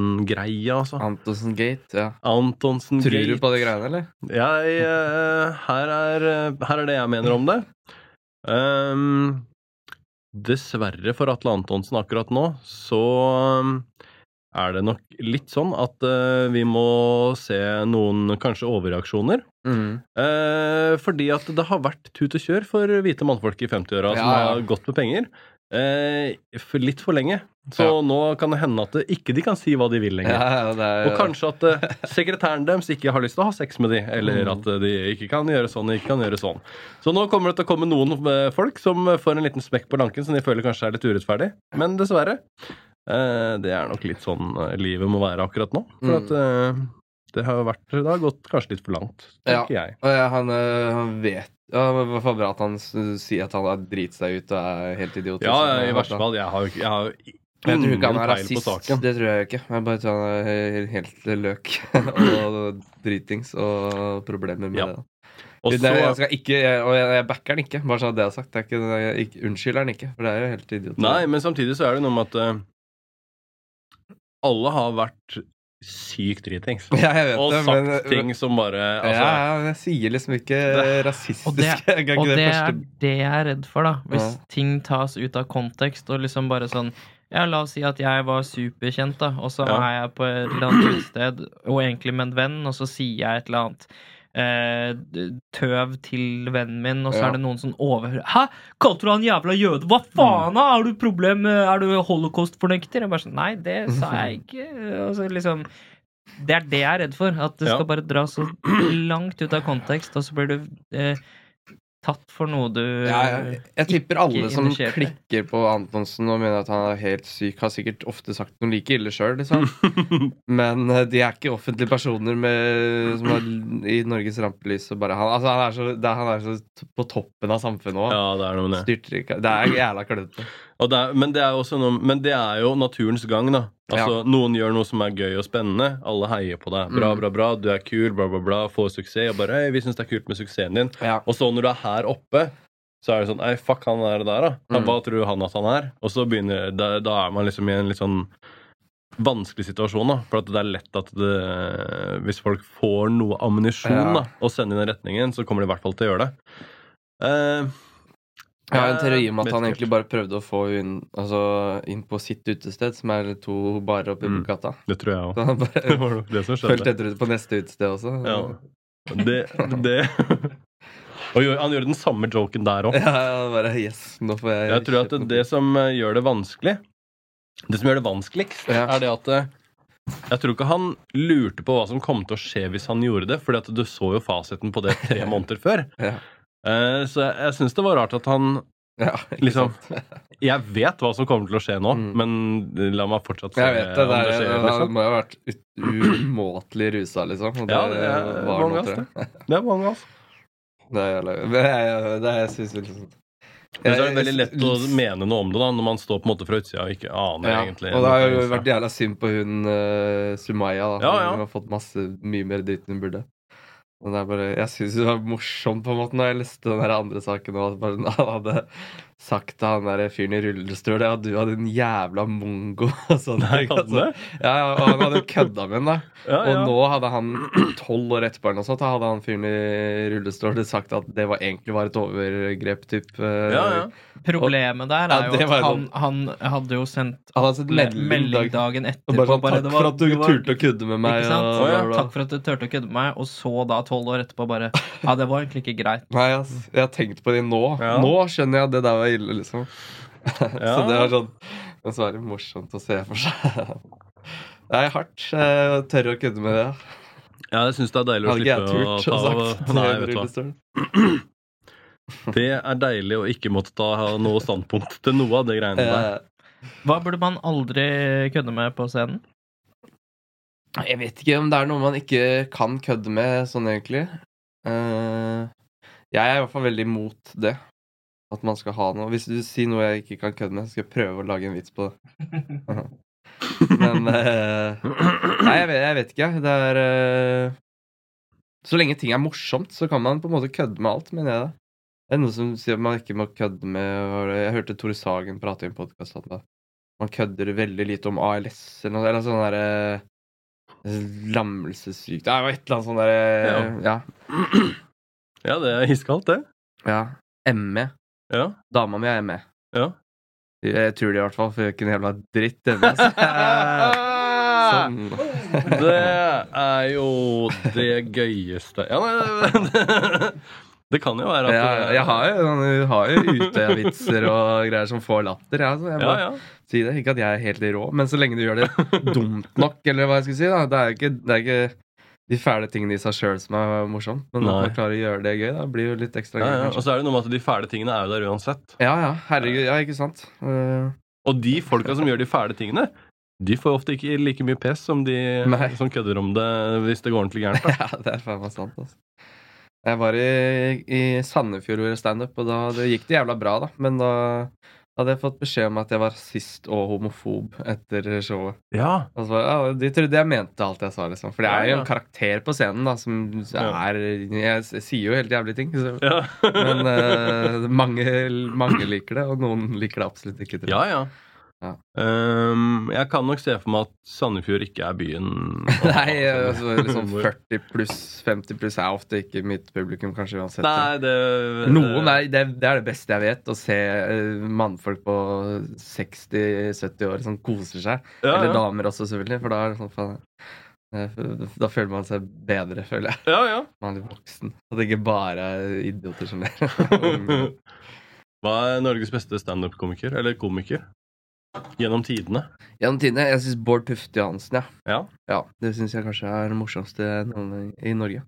A: Antonsen-greia, altså.
C: Antonsen Gate, ja.
A: Antonsen
C: Tror
A: Gate.
C: du på de greiene, eller?
A: Jeg, eh, her, er, eh, her er det jeg mener om det. Ehm, dessverre for Atle Antonsen akkurat nå, så um, er det nok litt sånn at eh, vi må se noen kanskje overreaksjoner. Mm. Eh, fordi at det har vært tut og kjør for hvite mannfolk i 50-åra som
C: Ja, ja.
A: har gått med penger. eh, for litt for lenge. Så
C: Ja.
A: nå kan det hende at det, ikke de kan si hva de vil
C: Ja,
A: lenger.
C: ja, det er,
A: Og kanskje at eh, sekretæren deres ikke har lyst til å ha sex med de, eller
C: Mm.
A: at eh, de ikke kan gjøre sånn ikke kan gjøre sånn. Så nå kommer det til å komme noen eh, folk som eh, får en liten smekk på lanken som de føler kanskje er litt urettferdig. Men dessverre. eh, Det er nok litt sånn eh, livet må være akkurat nå. For
C: Mm.
A: at eh, det har vært Det har gått kanskje litt for langt,
C: Ja.
A: tenker jeg.
C: Og ja, han, øh, han vet ja, men Det var bra at han s- sier at han har driti seg ut og er helt idiot.
A: Ja,
C: liksom.
A: i verste fall. Sånn Jeg har jo ikke- jeg har jo
C: Jeg tror
A: ingen
C: ikke han er
A: peil på
C: rasist.
A: saken.
C: Det tror jeg ikke. Jeg bare tror han er helt løk og dritings og problemer med
A: Ja.
C: det.
A: Og
C: det er,
A: så
C: jeg skal ikke, jeg, og jeg, jeg backer han ikke, bare så det er sagt. Det er ikke, jeg ikke, unnskylder han ikke, for det er jo helt idiot.
A: Nei, men samtidig så er det noe med at eh, alle har vært sykt dritings.
C: ja, jeg vet
A: Og
C: det,
A: sagt
C: men-
A: ting som bare altså,
C: ja, ja, men jeg sier liksom ikke rasistisk.
B: Og det-
C: jeg kan
B: Og
C: ikke
B: det
C: det
B: er
C: første
B: det jeg er redd for, da. Hvis
C: Ja.
B: ting tas ut av kontekst og liksom bare sånn ja, La oss si at jeg var superkjent, da, og så
A: Ja.
B: er jeg på et eller annet sted, og egentlig med en venn, og så sier jeg et eller annet eh, tøv til vennen min, og så
C: Ja. Mm.
B: er det noen som overhører Hæ! Kalte du han jævla jøde? Hva faen, da? Er du problem eh, Er du holocaust-fornekter? Jeg bare sånn Nei, det sa jeg ikke. Og så liksom Det er det jeg er redd for. At det
A: Ja.
B: skal bare dra så langt ut av kontekst, og så blir du eh, tatt for noe du
C: Ja,
A: Eh,
C: jeg, jeg tipper alle som
B: initierte.
C: klikker på Antonsen og mener at han er helt syk, har sikkert ofte sagt noe like ille sjøl, liksom. Men eh, de er ikke offentlige personer med, som er i Norges rampelys og bare han, altså, han, er så, det, er- han er så t- på toppen av samfunnet òg.
A: Ja, det er noe med det.
C: Styrtrik. Det er jævla klønete.
A: Og det er, men, det er jo også noe, men det er jo naturens gang, da. Altså, Noen gjør noe som er gøy og spennende. Alle heier på deg. Bra,
C: Mm.
A: bra, bra. Du er kul, bla, bla, bla. Få suksess. Og bare, «Hei, vi syns det er kult med suksessen din.
C: Ja.
A: Og så når du er her oppe, så er det sånn Ei, fuck han der, der da. Ja,
C: Mm.
A: Hva tror du han at han er? Og så begynner da, da er man liksom i en litt sånn vanskelig situasjon, da. For at det er lett at det Hvis folk får noe ammunisjon
C: Ja.
A: da, og sender i den retningen, så kommer de i hvert fall til å gjøre det. Eh,
C: Jeg har en teori om
A: Vet
C: at han
A: ikke.
C: egentlig bare prøvde å få henne altså, inn på sitt utested, som er to barer oppe i
A: Mm.
C: Bukata.
A: det tror jeg òg.
C: Så han
A: Det
C: bare
A: var nok det som skjedde.
C: fulgte etter på neste utested også.
A: Ja. Det, det. Og gjør- han gjør den samme joken der òg.
C: Ja, ja, bare yes, nå får jeg
A: Jeg tror at
C: kjøpt noe.
A: det som eh, gjør det vanskelig Det som gjør det vanskeligst,
C: Ja.
A: er det at eh, jeg tror ikke han lurte på hva som kom til å skje hvis han gjorde det, fordi at du så jo fasiten på det tre måneder før.
C: Ja.
A: Eh, Så jeg, jeg syns det var rart at han
C: Ja, ikke
A: Liksom,
C: sant.
A: Jeg vet hva som kommer til å skje nå,
C: Mm.
A: men la meg fortsatt se
C: Jeg vet det.
A: om det
C: Det, er,
A: skjer.
C: det
A: Liksom.
C: må jo ha vært ut- umåtelig rusa, liksom. Og
A: Ja, det er
C: var
A: mange
C: noe,
A: av
C: tror jeg.
A: Det er mange, altså.
C: Det er jævla Men jeg- Det er jeg synes liksom
A: Men så er det veldig lett å mene noe om det da, når man står på en måte fra utsida og ikke aner
C: ja,
A: egentlig.
C: Og det har jo
A: noe.
C: vært jævla synd på hun eh, Sumaya, da.
A: Ja, ja.
C: Hun har fått masse, mye mer dritt enn hun burde. Men det er bare, jeg syns det var morsomt på en måte når jeg leste den her andre saken. Og at bare, han hadde sagt til han der fyren i rullestol at du hadde en jævla mongo. Og sånne
A: Nei,
C: ting,
A: hadde
C: altså.
A: det?
C: ja, ja, og han hadde kødda med den, da.
A: Ja,
C: Og
A: ja.
C: nå hadde han tolv år etterpå eller noe sånt, da hadde han fyren i rullestol sagt at det var egentlig var et overgrep. Typ. eh,
A: ja, ja.
B: Problemet der
C: Ja,
B: er
C: det
B: jo
C: var
B: at
C: jo
B: han, han hadde jo sendt
C: Han hadde sett melding dag
B: melding dagen
C: og bare
B: etterpå.
C: sånn, Takk
B: bare, det var-
C: for at du
B: det var-
C: turte å kødde med meg.
B: Ikke sant?
C: og bla, bla, bla.
B: Takk for at du turte å kødde med meg. Og så da, tolv år etterpå, bare Ja, det var egentlig ikke greit.
C: Nei, ass, jeg har tenkt på det nå.
A: Ja.
C: Nå skjønner jeg at det der var ille, liksom. Så
A: Ja.
C: det var sånn Dessverre morsomt å se for seg. Det er hardt. Jeg tør å kødde med det.
A: Ja, jeg syns det er deilig å
C: Hadde ikke jeg
A: slippe å
C: turt
A: ta
C: å sagt
A: av Nei, vet du hva.
C: rullestolen.
A: Det er deilig å ikke måtte ta ha noe standpunkt til noe av de greiene der.
C: Eh,
B: Hva burde man aldri kødde med på scenen?
C: Jeg vet ikke om det er noe man ikke kan kødde med sånn, egentlig. Eh, Jeg er i hvert fall veldig imot det. At man skal ha noe. Hvis du sier noe jeg ikke kan kødde med, så skal jeg prøve å lage en vits på det. Men eh, Nei, jeg vet, jeg vet ikke. Det er eh, Så lenge ting er morsomt, så kan man på en måte kødde med alt, mener jeg det. Det er noen som sier at man ikke må kødde med hva var det? Jeg hørte Tore Sagen prate i en podkast at man kødder veldig lite om ALS eller noe eller sånn derre eh, Lammelsessyk Det er jo et eller annet sånn derre ja.
A: Ja, det er iskaldt, det.
C: ja. ME.
A: Ja.
C: Dama mi er ME.
A: Ja.
C: Jeg tror det i hvert fall, for jeg er ikke en jævla dritt ME. så jeg- Sånn.
A: Det er jo det gøyeste Ja, nei, det, det kan jo være at
C: Jeg, jeg har jo, jeg har jo utøyavitser og greier som får latter. Jeg, så jeg
A: ja,
C: bare
A: ja.
C: si det. Ikke at jeg er helt rå, men så lenge du gjør det dumt nok, eller hva jeg skal si, da. Det er jo ikke, det er ikke de fæle tingene i seg sjøl som er morsomt, men når
A: Nei.
C: man klarer å gjøre det gøy, da blir det jo litt ekstra
A: Ja, altså-
C: gøy.
A: ja. Og
C: kanskje.
A: så er det noe med at de fæle tingene er jo der uansett.
C: Ja, ja. Herregud. Ja, ikke sant. Eh,
A: Og de folka som gjør de fæle tingene, de får ofte ikke like mye pes som de
C: Nei.
A: som kødder om det hvis det går ordentlig gærent. da.
C: ja, det er faen meg sant, altså. Jeg var i, i Sandefjord og gjorde standup, og da det gikk det jævla bra, da. Men da hadde jeg fått beskjed om at jeg var rasist og homofob etter showet.
A: Ja.
C: Og så bare, ja, de trodde jeg mente alt jeg sa, liksom. For det er
A: Ja,
C: jo
A: ja.
C: en karakter på scenen da, som er Jeg s- sier jo helt jævlige ting. Så.
A: Ja.
C: Men eh, mange, mange liker det, og noen liker det absolutt ikke. tror jeg.
A: ja, ja.
C: Ja.
A: Ehm, jeg kan nok se for meg at Sandefjord ikke er byen. å ha
C: Nei, eh, altså, liksom
A: humor.
C: 40 pluss, 50 pluss er ofte ikke mitt publikum, kanskje uansett.
A: Nei, det
C: Noen er, det, det er det beste jeg vet, å se eh, mannfolk på 60-70 år som koser seg.
A: ja,
C: Eller
A: ja.
C: damer også, selvfølgelig, for da er det sånn faen eh, Da føler man seg bedre, føler jeg.
A: ja, ja.
C: Man er voksen. At det ikke bare er idioter som ler.
A: Hva er Norges beste standup-komiker? Eller komiker? Gjennom tidene.
C: Gjennom tidene, jeg syns Bård Tufte Johansen, ja.
A: Ja.
C: Det syns jeg kanskje er det morsomste noen i Norge.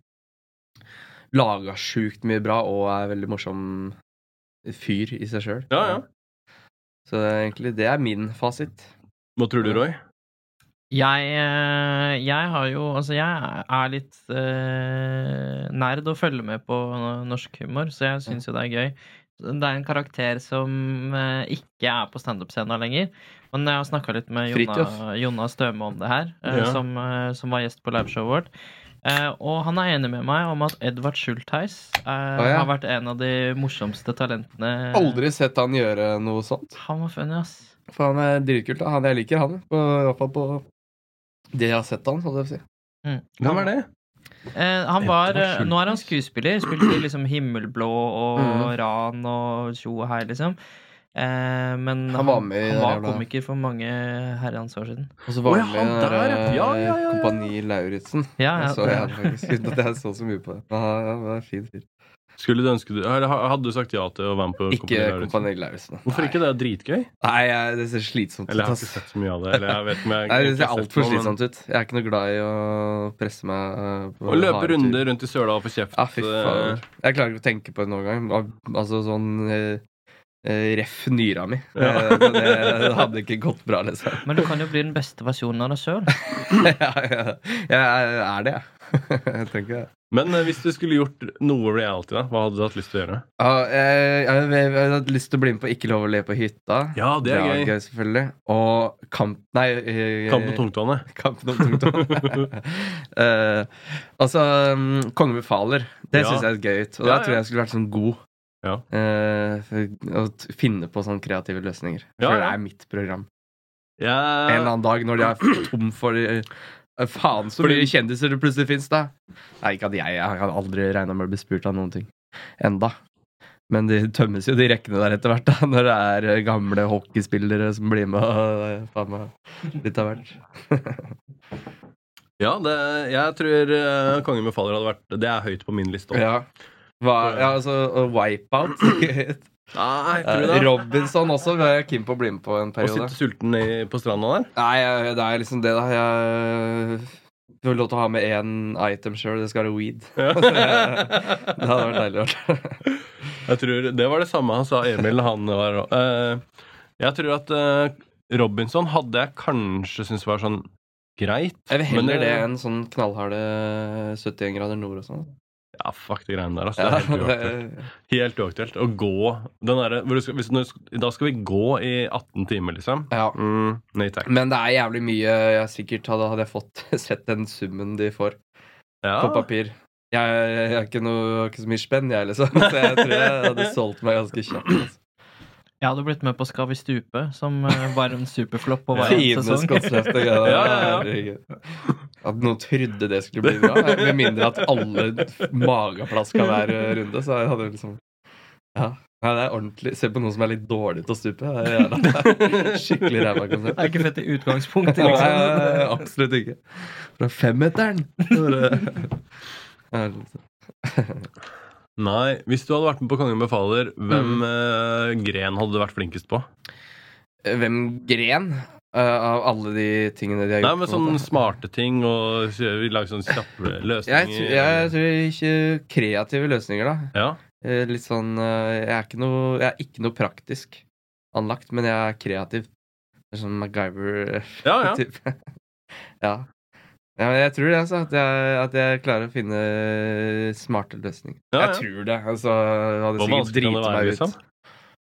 C: Laga sjukt mye bra og er veldig morsom fyr i seg sjøl.
A: Ja, ja.
C: Så det er egentlig det er min fasit.
A: Hva tror du, Roy?
B: Jeg, eh, jeg har jo Altså, jeg er litt eh, nerd å følge med på norsk humor, så jeg syns jo det er gøy. Det er en karakter som eh, ikke er på standup-scena lenger. Men jeg har snakka litt med Jonna,
C: Fridtjof.
B: Jonna Støme om det her, eh,
A: Ja.
B: som, eh, som var gjest på liveshowet vårt. Eh, og han er enig med meg om at Edvard Schultheis eh,
C: ja.
B: har vært en av de morsomste talentene
C: Aldri sett han gjøre noe sånt.
B: Han var funny, ass.
C: For han er dritkult. da. Han, jeg liker han. på- I hvert fall på det jeg har sett han, holdt jeg på å si.
B: Mm.
A: Hvem er det?
B: Eh, han
A: Edvard
B: var, eh, nå er han skuespiller. Spilte i liksom Himmelblå og
C: Mhm.
B: Ran og tjo og hei, liksom. Eh, men
C: Han var med i
B: han
C: den
B: var
C: jævla-
B: komiker for mange herrens år siden.
C: Og så var
A: Å, ja,
C: han med i
A: han
C: den der,
A: der, ja. Ja, ja, ja, ja.
C: Kompani Lauritzen.
B: Ja,
C: Jeg
B: ja,
C: så
B: det-
C: jeg faktisk uten at jeg så så mye på det. Men han han var en fin fyr.
A: Skulle du ønske du eller ha- Hadde du sagt ja til å være med på
C: Ikke
A: Kompani Lauritzen?
C: Kompani Lauritzen.
A: Hvorfor ikke? Det er dritgøy.
C: Nei, jeg, det ser slitsomt ut.
A: Eller jeg har
C: ass.
A: ikke sett så mye av det. Eller jeg vet om jeg
C: Nei, det
A: egentlig
C: ser
A: har sett
C: altfor
A: noe, men-
C: slitsomt ut. Jeg er ikke noe glad i å presse meg. eh, på
A: Å løpe
C: harde turer.
A: runder rundt i søla og få kjeft.
C: Ja, Ah, fy
A: eh,
C: faen. Jeg klarer ikke å tenke på det noen gang. Al- Altså sånn eh, eh, Ref nyra mi.
A: Ja.
C: Eh, så Det, det hadde ikke gått bra, liksom.
B: Men du kan jo bli den beste versjonen av deg sjøl.
C: ja, ja. Jeg er det, jeg. jeg tenker det.
A: Men eh, hvis du skulle gjort noe reality, da, hva hadde du hatt lyst til å gjøre?
C: Ja, jeg, jeg, jeg, jeg hadde lyst til å bli med på Ikke lov å le på hytta.
A: Ja, det er gøy.
C: selvfølgelig. Og kamp Nei. eh,
A: Kamp på tungtvannet.
C: Kampen om tungtvann. Eh, altså um, Konge befaler. Det
A: Ja.
C: syns jeg er gøy ut. Og
A: Ja,
C: der tror
A: ja.
C: jeg jeg skulle vært sånn god.
A: Ja.
C: Eh, for å t- finne på sånne kreative løsninger. Jeg
A: Ja,
C: tror
A: ja.
C: det er mitt program. En eller
A: Jeg,
C: annen dag når de er tom for eh, eh, Faen så
A: Fordi-
C: mye kjendiser det plutselig fins, da. Nei, ikke at jeg, jeg har aldri regna med å bli spurt av noen ting. Enda. Men de tømmes jo, de rekkene der etter hvert, da, når det er eh, gamle hockeyspillere som blir med. Og, eh, faen meg litt av hvert.
A: ja, det, jeg tror eh, Kongen befaler hadde vært Det er høyt på min liste. også.
C: Ja. Hva, ja, altså og Wipeout.
A: Nei, tror du
C: Eh,
A: det?
C: Robinson også var jeg keen på å bli med på en
A: Å
C: periode.
A: sitte sulten i, på stranda der?
C: Nei, jeg- det er liksom det, da. Jeg får lov til å ha med én item sjøl. Det skal være weed. Det hadde vært deilig. å gjøre.
A: Jeg tror, Det var det samme han sa Emil han var eh, Jeg tror at eh, Robinson hadde jeg kanskje syntes var sånn greit.
C: Jeg vil
A: men,
C: heller
A: eh,
C: det enn sånn knallharde 71 grader nord og sånn.
A: Ja, fuck de greiene der. Altså, det
C: Ja,
A: er helt uaktuelt. Helt uaktuelt. Å gå den derre hvor du skal- hvis- når du skal- Da skal vi gå i 18 timer, liksom.
C: ja.
A: Mm, nei takk.
C: Men det er jævlig mye jeg sikkert hadde, hadde jeg fått sett den summen de får på
A: Ja.
C: papir. Jeg, jeg er ikke, noe, jeg har ikke så mye spenn, jeg, liksom. Så jeg tror jeg hadde solgt meg ganske kjapt. Altså.
B: Jeg hadde blitt med på Skal vi stupe, som eh, var en superflopp på hver
C: Fineste
B: sesong.
C: konsept. det er-
A: Ja, ja, ja.
C: herregud. At noen trodde det skulle bli bra. Med mindre at alle mageplaska hver runde, så jeg hadde jeg liksom Ja. Nei, det er ordentlig. Se på noen som er litt dårlig til å stupe. Det er jævla- Skikkelig ræva konsept.
B: Det er ikke fett i utgangspunktet,
C: Nei, nei, nei,
B: liksom.
C: absolutt ikke. Fra femmeteren! Bare-
A: Nei, Hvis du hadde vært med på Kongen befaler,
C: Mm.
A: hvem eh, gren hadde du vært flinkest på?
C: Hvem gren eh, av alle de tingene de har
A: Nei,
C: gjort?
A: men sånn
C: på en måte?
A: sånne smarte ting og kjø- lage sånne kjappe
C: jeg,
A: løsninger.
C: tror- jeg tror ikke kreative løsninger, da.
A: Ja.
C: Eh, Litt sånn eh, Jeg er ikke noe, jeg er ikke noe praktisk anlagt, men jeg er kreativ. Det er Sånn MacGyver-type.
A: ja, ja.
C: ja. ja, men jeg tror det, altså. At jeg, at jeg klarer å finne smarte løsninger.
A: Ja, ja.
C: Jeg tror det. Altså, jeg hadde
A: Hvor
C: sikkert
A: vanskelig kan
C: driti
A: det
C: meg
A: være,
C: ut.
A: liksom?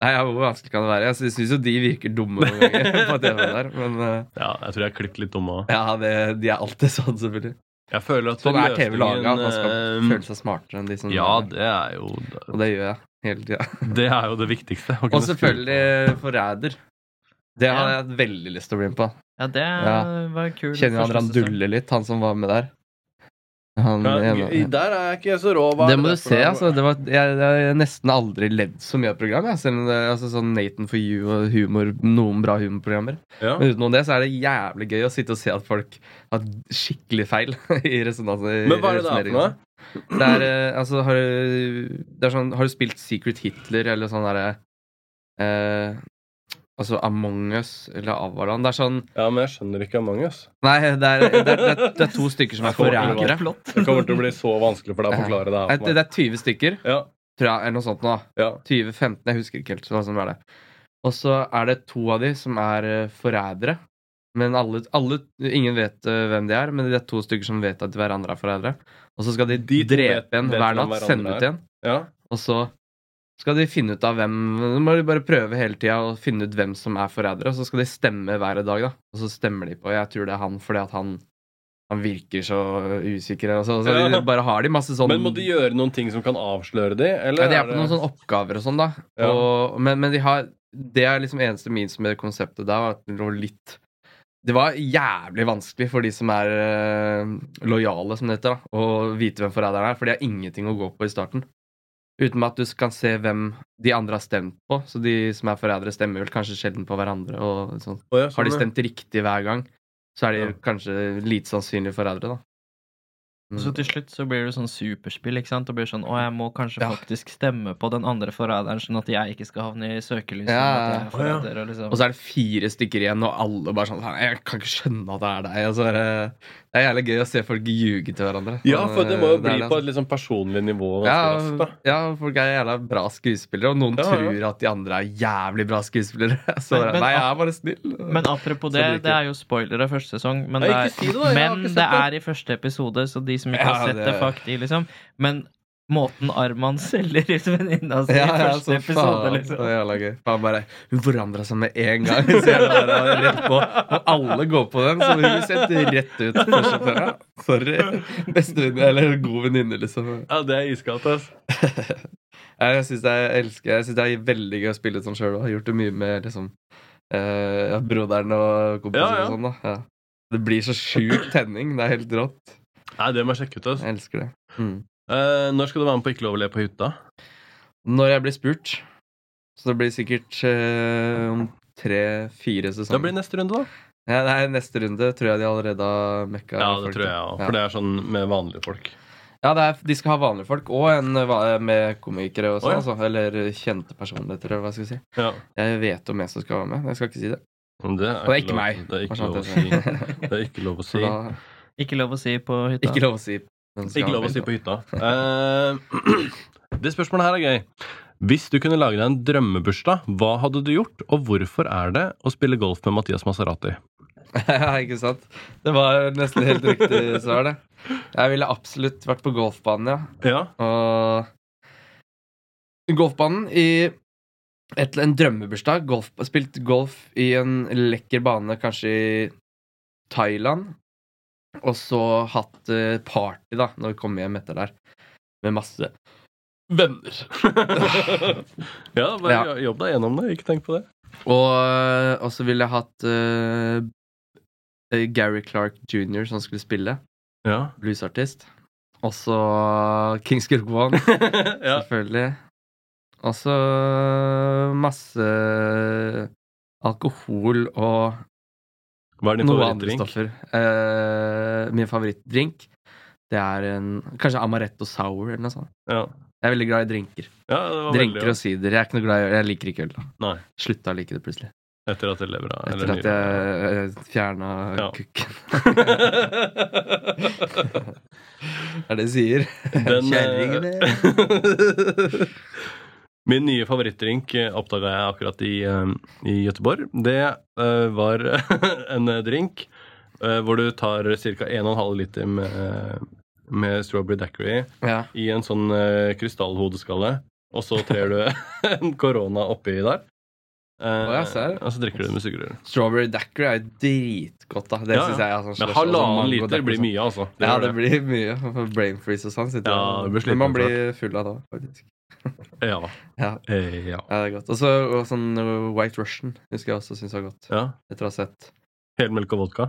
C: Nei, ja, Hvor vanskelig kan det være? Altså, Jeg syns jo de virker dumme noen ganger. på TV-en der, Men eh,
A: Ja, jeg tror jeg har klippet litt dumme òg.
C: ja, det, de er alltid sånn, selvfølgelig.
A: Jeg føler at
C: Sånn er TV laga.
A: løsningen,
C: Man skal
A: eh,
C: føle seg sånn. smartere enn de som
A: Ja, det er jo
C: Og det gjør jeg hele tida.
A: Det er jo det viktigste. å kunne
C: Og selvfølgelig forræder. Det har jeg hatt veldig lyst til å bli med på.
B: Ja, det
C: Ja.
B: var kult.
C: Kjenner jo han han duller litt, han som var med der. Han,
A: skru på. Ja,
C: ene-
A: i- Der er jeg ikke så rå. hva er
C: det må du
A: for
C: se,
A: noe?
C: altså. Det var, jeg, jeg har nesten aldri ledd så mye av program. Jeg, selv om det, altså, sånn Nathan for you og humor, noen bra humorprogrammer.
A: Ja.
C: Men utenom det så er det jævlig gøy å sitte og se at folk har skikkelig feil. i resonansen.
A: Men hva er det det er for noe?
C: Det er, eh, altså, har, du, det er sånn, har du spilt Secret Hitler eller sånn derre eh, Altså Among Us eller Avalan. Det er sånn
A: Ja, men jeg skjønner ikke Among us.
C: Nei, det er, det er, det er, det er to stykker som er forrædere.
B: Flott.
A: Det kommer til å bli så vanskelig for deg å forklare det her
C: Nei,
A: for
C: Det
A: meg.
C: det er 20 stykker,
A: Ja,
C: tror jeg, eller noe sånt nå.
A: ja.
C: 20-15, jeg husker ikke helt hva som er det. Og så er det to av de som er eh, forrædere. Men alle, alle, ingen vet eh, hvem de er, men det er to stykker som vet at hverandre er forrædere. Og så skal de,
A: De to vet-
C: drepe en
A: vet
C: hver
A: hvem
C: natt,
A: hverandre
C: sende ut
A: er.
C: igjen.
A: ja.
C: Og så skal de finne ut av hvem Nå må de bare prøve hele tida å finne ut hvem som er forrædere, og så skal de stemme hver dag, da. Og så stemmer de på Jeg tror det er han fordi at han, han virker så usikker. Og så, så
A: Ja.
C: de bare har de masse sånn
A: Men må de gjøre noen ting som kan avsløre de? Eller
C: ja, de er på noen sånne oppgaver og sånn, da.
A: Ja.
C: Og, men, men de har Det er liksom eneste minus med det konseptet der, var at det lå litt Det var jævlig vanskelig for de som er eh, lojale, som det heter, da, å vite hvem forræderen er, for de har ingenting å gå på i starten. Uten at du kan se hvem de andre har stemt på. Så de som er forrædere, stemmer vel kanskje sjelden på hverandre. Og sånn.
A: Å, ja, sånn,
C: Har de
A: ja.
C: stemt riktig hver gang, så er de
A: Ja.
C: kanskje lite sannsynlige forrædere, da. Mm.
B: Så til slutt så blir det sånn superspill, ikke sant? Og blir sånn å, jeg må kanskje
C: Ja.
B: faktisk stemme på den andre forræderen, sånn at jeg ikke skal havne i søkelyset.
C: Ja, ja.
B: med at jeg er forræder, og liksom.
C: Og så er det fire stykker igjen, og alle bare sånn "Faen, Jeg kan ikke skjønne at det er deg. Og så er det, det er jævlig gøy å se folk ljuge til hverandre.
A: Ja,
C: Sånn,
A: for det må jo
C: eh,
A: bli
C: er det,
A: på et litt sånn personlig nivå.
C: altså.
A: ganske raskt,
C: ja,
A: da.
C: ja, folk er jævla bra skuespillere, og noen
A: Ja, ja.
C: tror at de andre er jævlig bra skuespillere. Så
B: Men- men-
C: nei, jeg er bare snill.
B: Men
C: Så
B: apropos det,
C: liker
B: det er jo spoilere første sesong. Men,
A: Ja, ikke
B: det er,
A: si det da, jeg har
B: men
A: ikke sett
B: det
A: det.
B: er i første episode, så de som ikke
C: Ja,
B: har sett det,
C: det-
B: fuck de, liksom. Men måten Arman selger ut venninna si i første
C: så
B: episode,
C: faen,
B: liksom.
C: så jævla gøy. Faen bare, Hun forandra seg med en gang. Så jeg bare var rett på. Og alle går på den, så hun setter rett ut. første før, ja. Sorry. Bestevenninne eller god venninne, liksom.
A: Ja, det er iskaldt, ass.
C: Nei, Jeg syns jeg elsker Jeg synes det er veldig gøy å spille sånn sjøl. Har gjort det mye med liksom eh, ja, broderen og kompisen
A: Ja, ja.
C: og sånn. da ja. Det blir så sjuk tenning. Det er helt rått.
A: Nei, det må jeg sjekke ut, ass.
C: Jeg elsker det. Mm.
A: Eh, når skal du være med på Ikke lov å le på hytta?
C: Når jeg blir spurt Så det blir sikkert eh, om tre-fire
A: Det
C: sesonger.
A: blir neste runde, da.
C: Ja, nei, neste runde tror jeg de allerede har mekka.
A: Ja, det
C: folk
A: tror
C: til.
A: jeg òg.
C: Ja.
A: For det er sånn med vanlige folk.
C: Ja, det er, de skal ha vanlige folk og en eh, va- med komikere og
A: Å,
C: sånn.
A: ja.
C: altså, eller kjente personligheter, eller hva skal jeg si.
A: Ja.
C: Jeg vet om jeg som skal være med. men Jeg skal ikke si det.
A: Men det er,
C: Og det er ikke
A: lov-
C: meg.
A: Det er
C: Bare
A: ikke
C: sånn
A: lov å
C: at
A: si.
C: jeg-
A: Det er ikke lov å
C: Så
A: si.
C: da,
B: Ikke lov å si på hytta.
C: ikke lov å si. men skal
A: Ikke lov å si
C: være
A: på hytta. Eh, det spørsmålet her er gøy. Hvis du kunne lage deg en drømmebursdag, hva hadde du gjort, og hvorfor er det å spille golf med Mathias Maserati?
C: Ja, ikke sant? Det var nesten helt riktig svar, det. Jeg ville absolutt vært på golfbanen, ja.
A: Ja,
C: Og golfbanen i et, en drømmebursdag. Golf, spilt golf i en lekker bane, kanskje i Thailand. Og så hatt eh, party, da, når vi kommer hjem etter der. Med masse venner.
A: ja bare
C: Ja.
A: jobb deg gjennom det. Ikke tenk på det.
C: Og, eh, og så ville jeg hatt eh, Gary Clark jr. som skulle spille.
A: Ja.
C: Bluesartist. Og så Kings Gulf One.
A: ja.
C: Selvfølgelig. Og så masse alkohol og
A: Hva er din
C: noe andre
A: favorittdrink?
C: stoffer. Eh, min favorittdrink det er en, kanskje amaretto sour eller noe sånt.
A: Ja.
C: Jeg er veldig glad i drinker.
A: ja, det var
C: Drinker
A: veldig
C: og sider. Jeg er ikke noe glad i Jeg liker ikke øl. da.
A: Nei.
C: Slutta å like det plutselig.
A: Etter at det lever av.
C: Etter at jeg fjerna
A: Ja.
C: kukken.
A: jeg
C: Det er det de sier.
A: Den, øh, eh,
C: Kjerringene.
A: Min nye favorittdrink oppdaga jeg akkurat i, eh, i Gøteborg. Det eh, var en drink eh, hvor du tar ca. 1,5 liter med, eh, med strawberry daiquiri
C: ja.
A: i en sånn eh, krystallhodeskalle, og så trer du en korona oppi der. Eh,
C: Å, jeg ser.
A: og så drikker du det med sugerør.
C: Strawberry daiquiri er jo dritgodt, da. Det
A: Ja, ja.
C: synes jeg er sånn
A: Men
C: slush, og så mango
A: halvannen liter
C: daiquiri
A: blir
C: sånn.
A: mye, altså. Det
C: Ja,
A: gjør
C: det blir mye. for Brain freeze og sånn. sitter
A: Ja,
C: og-
A: det blir
C: Men man
A: sliten,
C: blir full av det òg, faktisk.
A: Ja.
C: Ja.
A: Eh, ja.
C: Ja, det er godt. Og så og sånn uh, White Russian husker jeg også syns var godt.
A: ja.
C: Etter å ha sett.
A: Helmelk og vodka.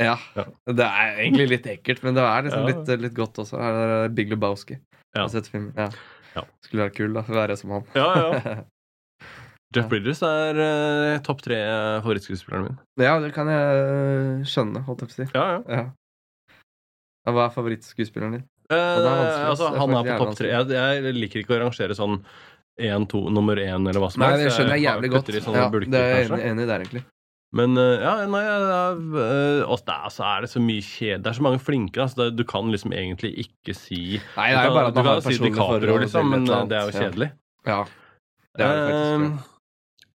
C: Ja.
A: Ja.
C: Det er egentlig litt ekkelt, men det er liksom
A: Ja.
C: litt, litt godt også. Her er Big Lebowski.
A: Ja.
C: Jeg Har sett filmen. Ja.
A: Ja.
C: Skulle være kul, da. Være som han.
A: Ja, ja.
C: Ja.
A: Jeff Bridges er eh, topp tre eh, favorittskuespilleren min.
C: det kan jeg øh, skjønne, holdt jeg på å si.
A: Ja, ja.
C: Ja. Ja, Hva er favorittskuespilleren din? det er vanskelig,
A: Eh,
C: ass.
A: altså,
C: Det er
A: han er på
C: faktisk jævlig
A: topp tre. Jeg, jeg liker ikke å rangere sånn én, to, nummer én, eller hva som
C: Nei,
A: helst.
C: det skjønner jeg
A: har-
C: jævlig godt.
A: putter i sånne
C: Ja,
A: bulker,
C: det er jeg
A: kanskje.
C: enig, enig i der, egentlig.
A: Men eh, ja, nei, det er, eh, og det er, så er det så mye kjede Det er så mange flinke. Altså, det, du kan liksom egentlig ikke si
C: Nei, det er jo bare at
A: Du
C: man
A: kan
C: har
A: jo si
C: personlig
A: DiCaprio,
C: forhold til
A: liksom, men
C: et eller
A: eh, det er jo
C: annet.
A: kjedelig.
C: sånn, Ja. Det er det faktisk. ja.
A: Eh,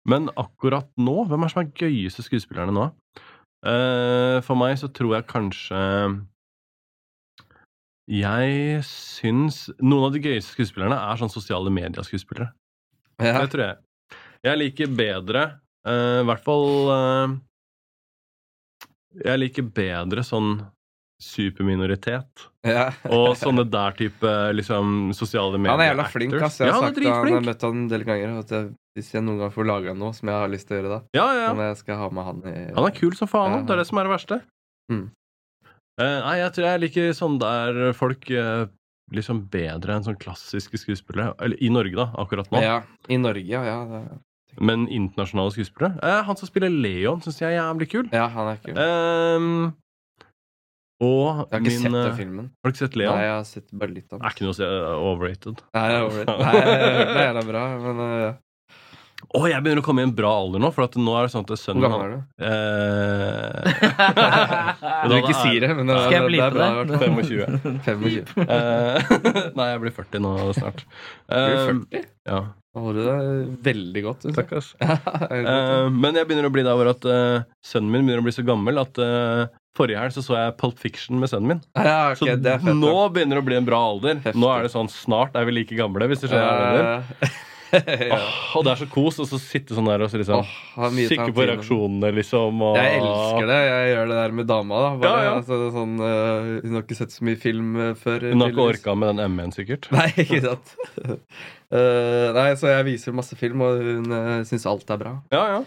A: Men akkurat nå Hvem er som er gøyeste skuespillerne nå? Eh, for meg så tror jeg kanskje Jeg syns Noen av de gøyeste skuespillerne er sånn sosiale medier-skuespillere.
C: Ja.
A: Det tror jeg. Jeg liker bedre eh, I hvert fall eh, Jeg liker bedre sånn superminoritet
C: ja.
A: og sånne der type liksom, sosiale medier.
C: Han er jævla flink,
A: actors.
C: ass. Jeg
A: ja,
C: har
A: han er
C: sagt det, han har
A: dritflink!
C: møtt han en del ganger. At jeg, hvis jeg noen gang får laga noe som jeg har lyst til å gjøre, da
A: Ja, ja, ja.
C: Om jeg skal ha med han i
A: Han er kul som faen,
C: Ja.
A: det er det som er det verste.
C: Mm.
A: Eh, nei, jeg tror jeg liker sånn der folk eh, liksom bedre enn sånn klassiske skuespillere. Eller i Norge, da, akkurat nå.
C: Ja, I Norge, ja. Ja, det,
A: Men internasjonale skuespillere. Eh, han som spiller Leon, syns jeg er jævlig kul.
C: ja han er kul. Jeg
A: Ehm, og
C: har ikke
A: min
C: sett
A: eh,
C: den filmen.
A: Har du ikke sett
C: Nei,
A: Leon?
C: jeg har sett bare litt av
A: Er ikke noe å si, eh, overrated.
C: Nei, jeg har overrated. Nei, jeg har hørt det er jævla bra, men eh, ja.
A: Å, jeg begynner å komme i en bra alder nå, for at nå er det sånn at sønnen
C: Hvor gammel er du?
A: Eh,
C: Du ikke sier det, men eh, det,
B: Skal
C: er-
B: jeg
C: det
B: blipe
C: er bra. i hvert
B: det?
C: fall.
A: 25.
C: 25.
A: Eh, nei, jeg blir 40 nå snart.
C: Blir
A: Eh,
C: du 40?
A: ja.
C: Da holder du deg veldig godt. synes jeg.
A: Takk, ass.
C: Ja, det er godt, ja.
A: Eh, men jeg begynner å bli der hvor at eh, sønnen min begynner å bli så gammel at eh, Forrige helg så, så jeg Pulp Fiction med sønnen min.
C: Ja,
A: Så
C: ok, det er fett.
A: nå begynner det å bli en bra alder.
C: Heftig.
A: Nå er det sånn snart er sånn, vi like gamle, hvis du skjønner hva jeg mener.
C: Eh, ja.
A: Åh, og det er så kos, og så sitte sånn der og så liksom
C: Åh, har mye
A: Kikke på
C: Tarantino.
A: reaksjonene, liksom. Og...
C: Jeg elsker det. Jeg gjør det der med dama. da Bare,
A: Ja, ja.
C: Altså, det er sånn, øh, Hun har ikke sett så mye film øh, før.
A: Hun har ikke
C: tydeligvis.
A: orka med den MN, sikkert.
C: Nei, ikke sant. Eh, nei, så jeg viser masse film, og hun uh, syns alt er bra.
A: Ja, ja.